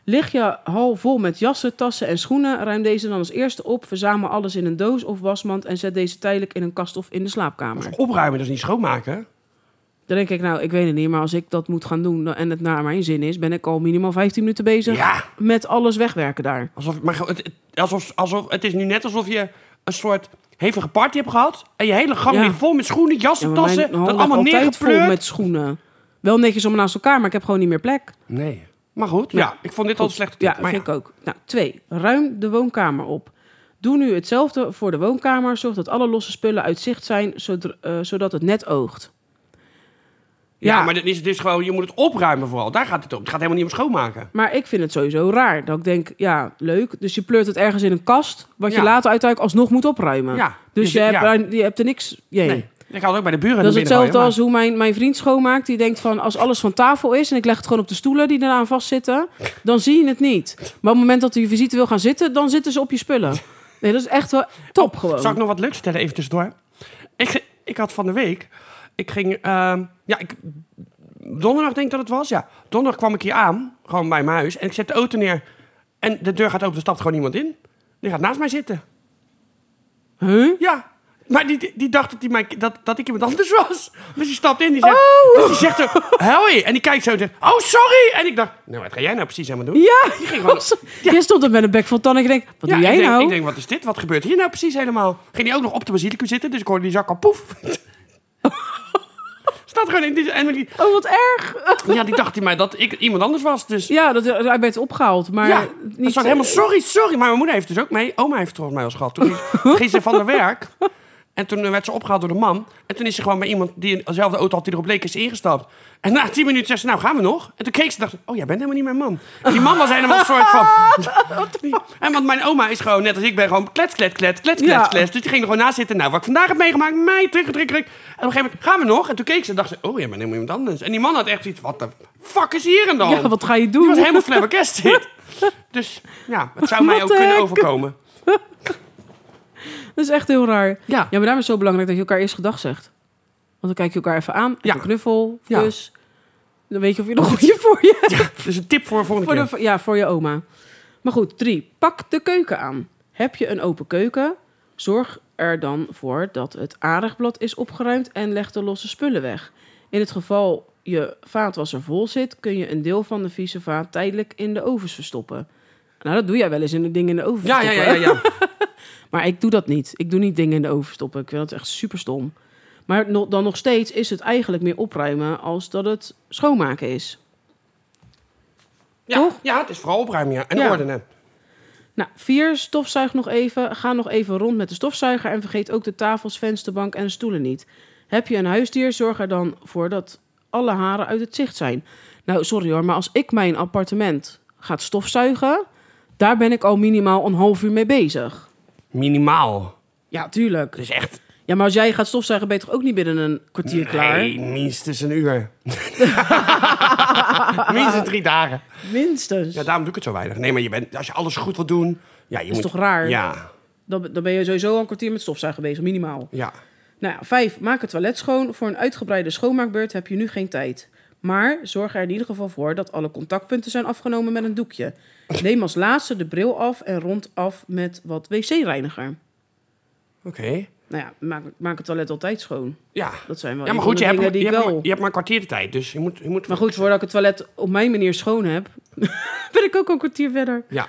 [SPEAKER 1] Lig je hal vol met jassen, tassen en schoenen, ruim deze dan als eerste op, verzamel alles in een doos of wasmand en zet deze tijdelijk in een kast of in de slaapkamer.
[SPEAKER 2] eh, Opruimen, dat is niet schoonmaken.
[SPEAKER 1] Dan denk ik, nou, ik weet het niet, maar als ik dat moet gaan doen en het naar mijn zin is, ben ik al minimaal 15 minuten bezig
[SPEAKER 2] Ja.
[SPEAKER 1] met alles wegwerken daar.
[SPEAKER 2] Alsof, maar het, het- alsof, alsof, het is nu net alsof je een soort hevige party hebt gehad. En je hele gang
[SPEAKER 1] Ja.
[SPEAKER 2] ligt vol met schoenen,
[SPEAKER 1] Ja,
[SPEAKER 2] jassen,
[SPEAKER 1] maar
[SPEAKER 2] tassen.
[SPEAKER 1] mijn hal
[SPEAKER 2] Dat
[SPEAKER 1] lag
[SPEAKER 2] allemaal
[SPEAKER 1] altijd vol
[SPEAKER 2] neergepleurd.
[SPEAKER 1] met schoenen. Wel netjes om naast elkaar, maar ik heb gewoon niet meer plek.
[SPEAKER 2] Nee. Maar goed, ja, ik vond dit al een slechte tip.
[SPEAKER 1] Ja,
[SPEAKER 2] maar
[SPEAKER 1] vind ik ook. Nou, twee, ruim de woonkamer op. Doe nu hetzelfde voor de woonkamer. Zorg dat alle losse spullen uit zicht zijn, zodra- eh, zodat het net oogt.
[SPEAKER 2] ja.
[SPEAKER 1] ja.
[SPEAKER 2] maar dit is, dit is gewoon, je moet het opruimen vooral. Daar gaat het om. Het gaat helemaal niet om schoonmaken.
[SPEAKER 1] Maar ik vind het sowieso raar. Dat ik denk, ja, leuk. Dus je pleurt het ergens in een kast, wat je
[SPEAKER 2] Ja.
[SPEAKER 1] later uiteindelijk alsof moet opruimen.
[SPEAKER 2] Ja.
[SPEAKER 1] Dus
[SPEAKER 2] Dus
[SPEAKER 1] je,
[SPEAKER 2] ja.
[SPEAKER 1] hebt, daar- je hebt er niks... Jee.
[SPEAKER 2] Nee. Ik had ook bij de buren
[SPEAKER 1] Dat is
[SPEAKER 2] naar binnen
[SPEAKER 1] hetzelfde
[SPEAKER 2] gooien,
[SPEAKER 1] als hoe mijn, mijn vriend schoonmaakt. Die denkt van, als alles van tafel is... en ik leg het gewoon op de stoelen die eraan vastzitten... dan zie je het niet. Maar op het moment dat je visite wil gaan zitten... dan zitten ze op je spullen. Nee, dat is echt wel top gewoon.
[SPEAKER 2] maar- Zal ik nog wat leuks vertellen even tussendoor? Ik, ik had van de week... Ik ging... ehm, ja, ik, donderdag denk ik dat het was, ja. Donderdag kwam ik hier aan, gewoon bij mijn huis. En ik zet de auto neer. En de deur gaat open, er stapt gewoon iemand in. Die gaat naast mij zitten.
[SPEAKER 1] Huh?
[SPEAKER 2] Ja. Maar die, die dacht dat, die mij, dat, dat ik iemand anders was. Dus die stapt in, die zegt...
[SPEAKER 1] Oh.
[SPEAKER 2] Dus die zegt zo, hoi. En die kijkt zo en zegt, oh, sorry. En ik dacht, nou, wat ga jij nou precies helemaal doen?
[SPEAKER 1] Ja,
[SPEAKER 2] Die ging gewoon-
[SPEAKER 1] je stond er met een bek vol tanden. Ik denk, wat
[SPEAKER 2] Ja,
[SPEAKER 1] doe jij
[SPEAKER 2] ik denk,
[SPEAKER 1] nou?
[SPEAKER 2] Ik denk, wat is dit? Wat gebeurt hier nou precies helemaal? Ging die ook nog op de basilicum zitten, dus ik hoorde die zak al poef. Staat gewoon in die... En die,
[SPEAKER 1] Oh, wat erg.
[SPEAKER 2] ja, die dacht hij mij dat ik iemand anders was, dus... Ja,
[SPEAKER 1] Ja, dat, hij werd opgehaald. Maar
[SPEAKER 2] niet
[SPEAKER 1] niet
[SPEAKER 2] helemaal sorry, sorry. Maar mijn moeder heeft dus ook mee. Oma heeft het volgens mij al gehad. Toen ging- ging ze van de werk. En toen eh, werd ze opgehaald door de man. En toen is ze gewoon bij iemand die in dezelfde auto had die erop leek, is ingestapt. En na tien minuten zegt ze, nou gaan we nog? En toen keek ze en dacht, ze, oh jij bent helemaal niet mijn man. En die man was helemaal een soort van... en want mijn oma is gewoon, net als ik ben, gewoon klets, klets, klets, klets, klets,
[SPEAKER 1] Ja.
[SPEAKER 2] klets. Dus die ging er gewoon naast zitten. Nou, wat ik vandaag heb meegemaakt, mij, terug, terug, terug. En op een gegeven moment, gaan we nog? En toen keek ze en dacht ze, oh jij bent helemaal iemand anders. En die man had echt iets, wat de fuck is hier en dan?
[SPEAKER 1] Ja, wat ga je
[SPEAKER 2] Die was
[SPEAKER 1] doen?
[SPEAKER 2] helemaal flabbergasted. Dus ja, het zou mij
[SPEAKER 1] What
[SPEAKER 2] ook
[SPEAKER 1] the
[SPEAKER 2] kunnen
[SPEAKER 1] heck?
[SPEAKER 2] overkomen.
[SPEAKER 1] Dat is echt heel raar.
[SPEAKER 2] Ja.
[SPEAKER 1] Ja, maar daarom is het zo belangrijk dat je elkaar eerst gedag zegt. Want dan kijk je elkaar even aan.
[SPEAKER 2] Ja.
[SPEAKER 1] Even knuffel,
[SPEAKER 2] Ja.
[SPEAKER 1] kus. Dan weet je of je nog goedje voor je
[SPEAKER 2] Dus een tip voor de volgende
[SPEAKER 1] Voor
[SPEAKER 2] keer.
[SPEAKER 1] de, ja, voor je oma. Maar goed, drie. Pak de keuken aan. Heb je een open keuken? Zorg er dan voor dat het aardigblad is opgeruimd en leg de losse spullen weg. In het geval je vaatwasser vol zit, kun je een deel van de vieze vaat tijdelijk in de ovens verstoppen. Nou, dat doe jij wel eens in de dingen in de oven
[SPEAKER 2] Ja, ja, ja,
[SPEAKER 1] verstoppen.
[SPEAKER 2] ja, ja.
[SPEAKER 1] Maar ik doe dat niet. Ik doe niet dingen in de oven stoppen. Ik vind dat echt super stom. Maar no- dan nog steeds is het eigenlijk meer opruimen als dat het schoonmaken is.
[SPEAKER 2] Ja,
[SPEAKER 1] Toch?
[SPEAKER 2] ja, het is vooral opruimen ja. en
[SPEAKER 1] Ja.
[SPEAKER 2] ordenen.
[SPEAKER 1] Nou, vier, stofzuig nog even. Ga nog even rond met de stofzuiger en vergeet ook de tafels, vensterbank en stoelen niet. Heb je een huisdier, zorg er dan voor dat alle haren uit het zicht zijn. Nou, sorry hoor, maar als ik mijn appartement gaat stofzuigen, daar ben ik al minimaal een half uur mee bezig.
[SPEAKER 2] Minimaal.
[SPEAKER 1] Ja, tuurlijk.
[SPEAKER 2] Dus echt
[SPEAKER 1] Ja, maar als jij gaat stofzuigen, ben je toch ook niet binnen een kwartier klaar?
[SPEAKER 2] nee, minstens een uur. minstens drie dagen.
[SPEAKER 1] Minstens.
[SPEAKER 2] Ja, daarom doe ik het zo weinig. Nee, maar je bent, als je alles goed wil doen... Ja, je
[SPEAKER 1] Is
[SPEAKER 2] moet,
[SPEAKER 1] toch raar?
[SPEAKER 2] Ja,
[SPEAKER 1] Dan, dan ben je sowieso al een kwartier met stofzuigen bezig, minimaal.
[SPEAKER 2] ja.
[SPEAKER 1] Nou ja, vijf, maak het toilet schoon. Voor een uitgebreide schoonmaakbeurt heb je nu geen tijd. Maar zorg er in ieder geval voor dat alle contactpunten zijn afgenomen met een doekje. Neem als laatste de bril af en rond af met wat wc-reiniger.
[SPEAKER 2] Oké.
[SPEAKER 1] Nou ja, maak, maak het toilet altijd schoon.
[SPEAKER 2] Ja.
[SPEAKER 1] Dat zijn wel
[SPEAKER 2] ja, maar
[SPEAKER 1] een
[SPEAKER 2] goed, je
[SPEAKER 1] van de
[SPEAKER 2] hebt,
[SPEAKER 1] dingen
[SPEAKER 2] maar-
[SPEAKER 1] die ik
[SPEAKER 2] je, hebt maar,
[SPEAKER 1] wel...
[SPEAKER 2] je hebt maar een kwartier de tijd, dus je moet... Je moet
[SPEAKER 1] Maar goed, voordat ik het toilet op mijn manier schoon heb, ben ik ook al een kwartier verder.
[SPEAKER 2] Ja.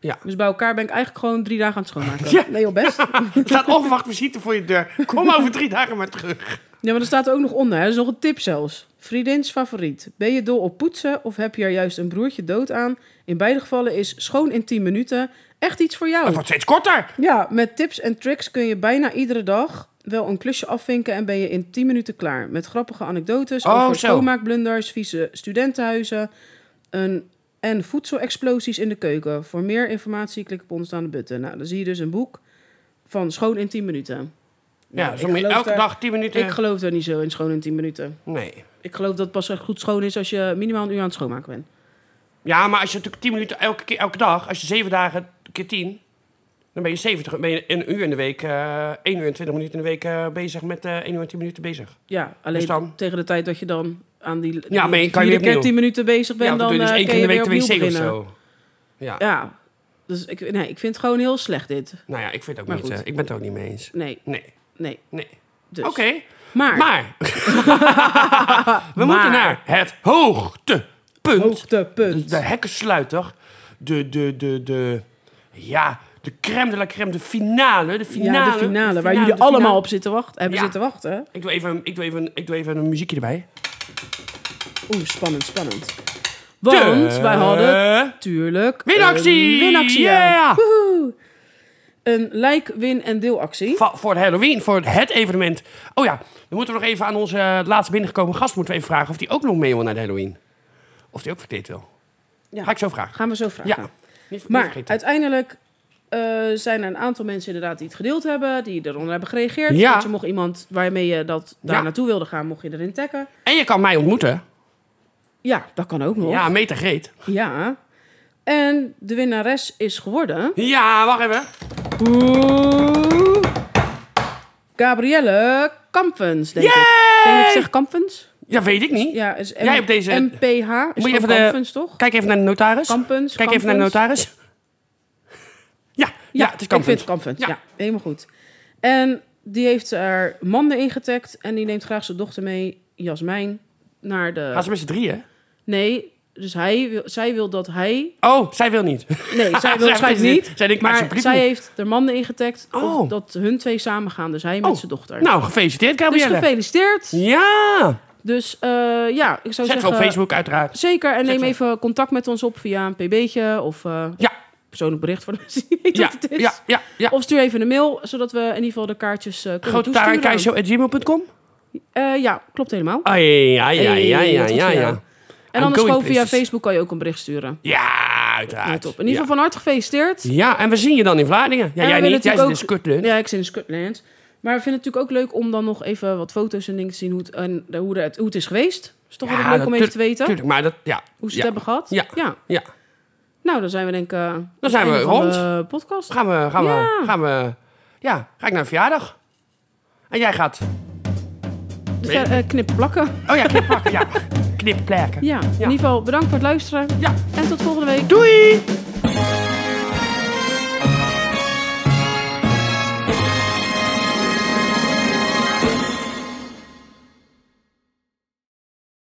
[SPEAKER 2] Ja.
[SPEAKER 1] Dus bij elkaar ben ik eigenlijk gewoon drie dagen aan het schoonmaken.
[SPEAKER 2] Ja.
[SPEAKER 1] Nee, joh, best.
[SPEAKER 2] Er staat onverwacht visite voor je deur. Kom over drie dagen maar terug.
[SPEAKER 1] Ja, maar er staat er ook nog onder. Hè. Dat is nog een tip zelfs. Vriendins favoriet. Ben je dol op poetsen of heb je er juist een broertje dood aan? In beide gevallen is schoon in 10 minuten echt iets voor
[SPEAKER 2] Oh, Het
[SPEAKER 1] jou.
[SPEAKER 2] wordt steeds korter.
[SPEAKER 1] Ja, met tips en tricks kun je bijna iedere dag wel een klusje afvinken en ben je in 10 minuten klaar. Met grappige anekdotes
[SPEAKER 2] Oh,
[SPEAKER 1] over
[SPEAKER 2] zo.
[SPEAKER 1] schoonmaakblunders, vieze studentenhuizen een, en voedselexplosies in de keuken. Voor meer informatie klik op onderstaande button. Nou, dan zie je dus een boek van schoon in 10 minuten. Nou,
[SPEAKER 2] Ja,
[SPEAKER 1] ik
[SPEAKER 2] zo moet je
[SPEAKER 1] geloof
[SPEAKER 2] elke
[SPEAKER 1] daar-
[SPEAKER 2] dag tien minuten...
[SPEAKER 1] Ik geloof daar niet zo in schoon in 10 minuten.
[SPEAKER 2] nee.
[SPEAKER 1] Ik geloof dat het pas echt goed schoon is als je minimaal een uur aan het schoonmaken bent.
[SPEAKER 2] Ja, maar als je natuurlijk 10 minuten elke, keer, elke dag, als je 7 dagen keer 10, dan ben je 70, ben je een uur in de week, eh 1 uur en 20 minuten in de week eh, bezig met eh 1 uur en 10 minuten bezig.
[SPEAKER 1] Ja, alleen
[SPEAKER 2] Dus dan?
[SPEAKER 1] tegen de tijd dat je dan aan die, die
[SPEAKER 2] maar je kan je
[SPEAKER 1] vierde keer
[SPEAKER 2] weer opnieuw.
[SPEAKER 1] 10 minuten bezig bent,
[SPEAKER 2] ja,
[SPEAKER 1] dan
[SPEAKER 2] doe je dus
[SPEAKER 1] eh,
[SPEAKER 2] één
[SPEAKER 1] kun
[SPEAKER 2] keer in de
[SPEAKER 1] je
[SPEAKER 2] week
[SPEAKER 1] weer
[SPEAKER 2] de wc
[SPEAKER 1] opnieuw
[SPEAKER 2] of
[SPEAKER 1] beginnen.
[SPEAKER 2] zo. Ja.
[SPEAKER 1] Ja, dus ik, nee, ik vind het gewoon heel slecht dit.
[SPEAKER 2] nou ja, ik vind het ook
[SPEAKER 1] Maar
[SPEAKER 2] niet,
[SPEAKER 1] goed.
[SPEAKER 2] eh, ik ben het ook niet mee eens.
[SPEAKER 1] Nee,
[SPEAKER 2] Nee,
[SPEAKER 1] nee.
[SPEAKER 2] nee.
[SPEAKER 1] Dus.
[SPEAKER 2] Oké,
[SPEAKER 1] Maar,
[SPEAKER 2] maar we
[SPEAKER 1] Maar.
[SPEAKER 2] moeten naar het hoogtepunt.
[SPEAKER 1] hoogtepunt.
[SPEAKER 2] Dus De hekkensluiter, de, de, de, de, ja, de crème de la crème, de finale, de finale.
[SPEAKER 1] ja, de finale, waar jullie
[SPEAKER 2] de finale.
[SPEAKER 1] allemaal op zitten wachten, hebben
[SPEAKER 2] Ja.
[SPEAKER 1] zitten wachten.
[SPEAKER 2] Ik doe, even, ik, doe even, ik doe even een muziekje erbij.
[SPEAKER 1] Oeh, spannend, spannend. Want wij hadden natuurlijk...
[SPEAKER 2] Winactie!
[SPEAKER 1] een Winactie,
[SPEAKER 2] Yeah!
[SPEAKER 1] ja. Woehoe. Een like, win en deelactie.
[SPEAKER 2] Va- voor Halloween, voor het evenement. Oh ja, dan moeten we nog even aan onze eh, laatst binnengekomen gast moeten we even vragen of die ook nog mee wil naar de Halloween. Of die ook verkleed wil.
[SPEAKER 1] Ja.
[SPEAKER 2] Ga ik zo vragen.
[SPEAKER 1] Gaan we zo vragen.
[SPEAKER 2] Ja, niet, niet
[SPEAKER 1] Maar
[SPEAKER 2] vergeten.
[SPEAKER 1] uiteindelijk eh, zijn er een aantal mensen inderdaad die het gedeeld hebben, die eronder hebben gereageerd.
[SPEAKER 2] Ja.
[SPEAKER 1] Want je mocht iemand waarmee je dat daar
[SPEAKER 2] Ja.
[SPEAKER 1] naartoe wilde gaan, mocht je erin taggen.
[SPEAKER 2] En je kan mij ontmoeten.
[SPEAKER 1] Ja, dat kan ook nog.
[SPEAKER 2] Ja, Meta Greet.
[SPEAKER 1] Ja. En de winnares is geworden.
[SPEAKER 2] Ja, wacht even.
[SPEAKER 1] Oeh. Gabrielle Kampens, denk ik. Denk dat ik zeg Kampens?
[SPEAKER 2] Ja, weet ik niet.
[SPEAKER 1] Ja, is M-
[SPEAKER 2] Jij hebt deze-
[SPEAKER 1] MPH. Is
[SPEAKER 2] Moet je even
[SPEAKER 1] gewoon
[SPEAKER 2] de-
[SPEAKER 1] Kampens, toch?
[SPEAKER 2] Kijk even naar de notaris.
[SPEAKER 1] Kampens.
[SPEAKER 2] Kijk even naar de
[SPEAKER 1] Kampens.
[SPEAKER 2] notaris. Ja, ja, het is
[SPEAKER 1] Ik vind
[SPEAKER 2] Kampens.
[SPEAKER 1] het Kampens,
[SPEAKER 2] Ja.
[SPEAKER 1] ja. Helemaal goed. En die heeft er mannen ingetagd en die neemt graag zijn dochter mee, Jasmijn, naar
[SPEAKER 2] Gaan ze
[SPEAKER 1] de...
[SPEAKER 2] met z'n drieën?
[SPEAKER 1] Nee, dus hij wil, zij wil dat hij...
[SPEAKER 2] Oh, zij wil niet.
[SPEAKER 1] Nee, zij wil waarschijnlijk niet.
[SPEAKER 2] Zij denkt, maak zo'n
[SPEAKER 1] Maar
[SPEAKER 2] brief
[SPEAKER 1] zij
[SPEAKER 2] niet.
[SPEAKER 1] heeft er mannen ingetagd
[SPEAKER 2] Oh.
[SPEAKER 1] of dat hun twee samen gaan, dus hij met
[SPEAKER 2] Oh,
[SPEAKER 1] zijn dochter.
[SPEAKER 2] Nou, gefeliciteerd,
[SPEAKER 1] dus
[SPEAKER 2] Gabrielle.
[SPEAKER 1] gefeliciteerd.
[SPEAKER 2] Ja!
[SPEAKER 1] Dus eh, ja, ik zou
[SPEAKER 2] Zet ze
[SPEAKER 1] zeggen...
[SPEAKER 2] op Facebook, uiteraard.
[SPEAKER 1] Zeker, en
[SPEAKER 2] Zet
[SPEAKER 1] neem
[SPEAKER 2] ze-
[SPEAKER 1] even contact met ons op via een pb'tje of... eh,
[SPEAKER 2] Ja,
[SPEAKER 1] persoonlijk bericht voor als je weet
[SPEAKER 2] Ja,
[SPEAKER 1] wat het is. Oh,
[SPEAKER 2] ja, ja, ja.
[SPEAKER 1] Of stuur even een mail, zodat we in ieder geval de kaartjes eh, kunnen toesturen.
[SPEAKER 2] Grootetarenkeizer.gmail.com?
[SPEAKER 1] Eh, ja, klopt helemaal.
[SPEAKER 2] Ah, ja, ja, ja, ja,
[SPEAKER 1] Hey,
[SPEAKER 2] ja,
[SPEAKER 1] wat goed
[SPEAKER 2] ja,
[SPEAKER 1] voor jou.
[SPEAKER 2] ja.
[SPEAKER 1] En
[SPEAKER 2] I'm
[SPEAKER 1] anders
[SPEAKER 2] going
[SPEAKER 1] gewoon via
[SPEAKER 2] places. Ah,
[SPEAKER 1] Facebook kan je ook een bericht sturen.
[SPEAKER 2] Ja,
[SPEAKER 1] Ja,
[SPEAKER 2] uiteraard.
[SPEAKER 1] top. In ieder geval van harte gefeliciteerd.
[SPEAKER 2] Ja. Ja, en we zien je dan in Vlaardingen. Ja,
[SPEAKER 1] En
[SPEAKER 2] jij
[SPEAKER 1] we willen
[SPEAKER 2] niet, jij
[SPEAKER 1] natuurlijk
[SPEAKER 2] zit in
[SPEAKER 1] ook-
[SPEAKER 2] Scotland.
[SPEAKER 1] Ja, ik zit in Scotland. Maar we vinden het natuurlijk ook leuk om dan nog even wat foto's en dingen te zien hoe het, en de- hoe het, hoe het is geweest. Is toch altijd leuk om even
[SPEAKER 2] natuurlijk-
[SPEAKER 1] te weten
[SPEAKER 2] Tuurlijk, maar dat, ja.
[SPEAKER 1] hoe ze het
[SPEAKER 2] ja.
[SPEAKER 1] hebben gehad.
[SPEAKER 2] Ja. Ja,
[SPEAKER 1] Nou, dan zijn we denk ik... eh, aan het
[SPEAKER 2] zijn we
[SPEAKER 1] einde van
[SPEAKER 2] rond.
[SPEAKER 1] de podcast.
[SPEAKER 2] gaan we, gaan
[SPEAKER 1] Ja.
[SPEAKER 2] we, gaan we, ja, ga ik naar een verjaardag. En jij gaat,
[SPEAKER 1] Dus, eh, eh, knip plakken.
[SPEAKER 2] oh ja, knip plakken, ja. Knip plakken.
[SPEAKER 1] Ja. in ieder geval bedankt voor het luisteren.
[SPEAKER 2] Ja.
[SPEAKER 1] En tot volgende week.
[SPEAKER 2] Doei!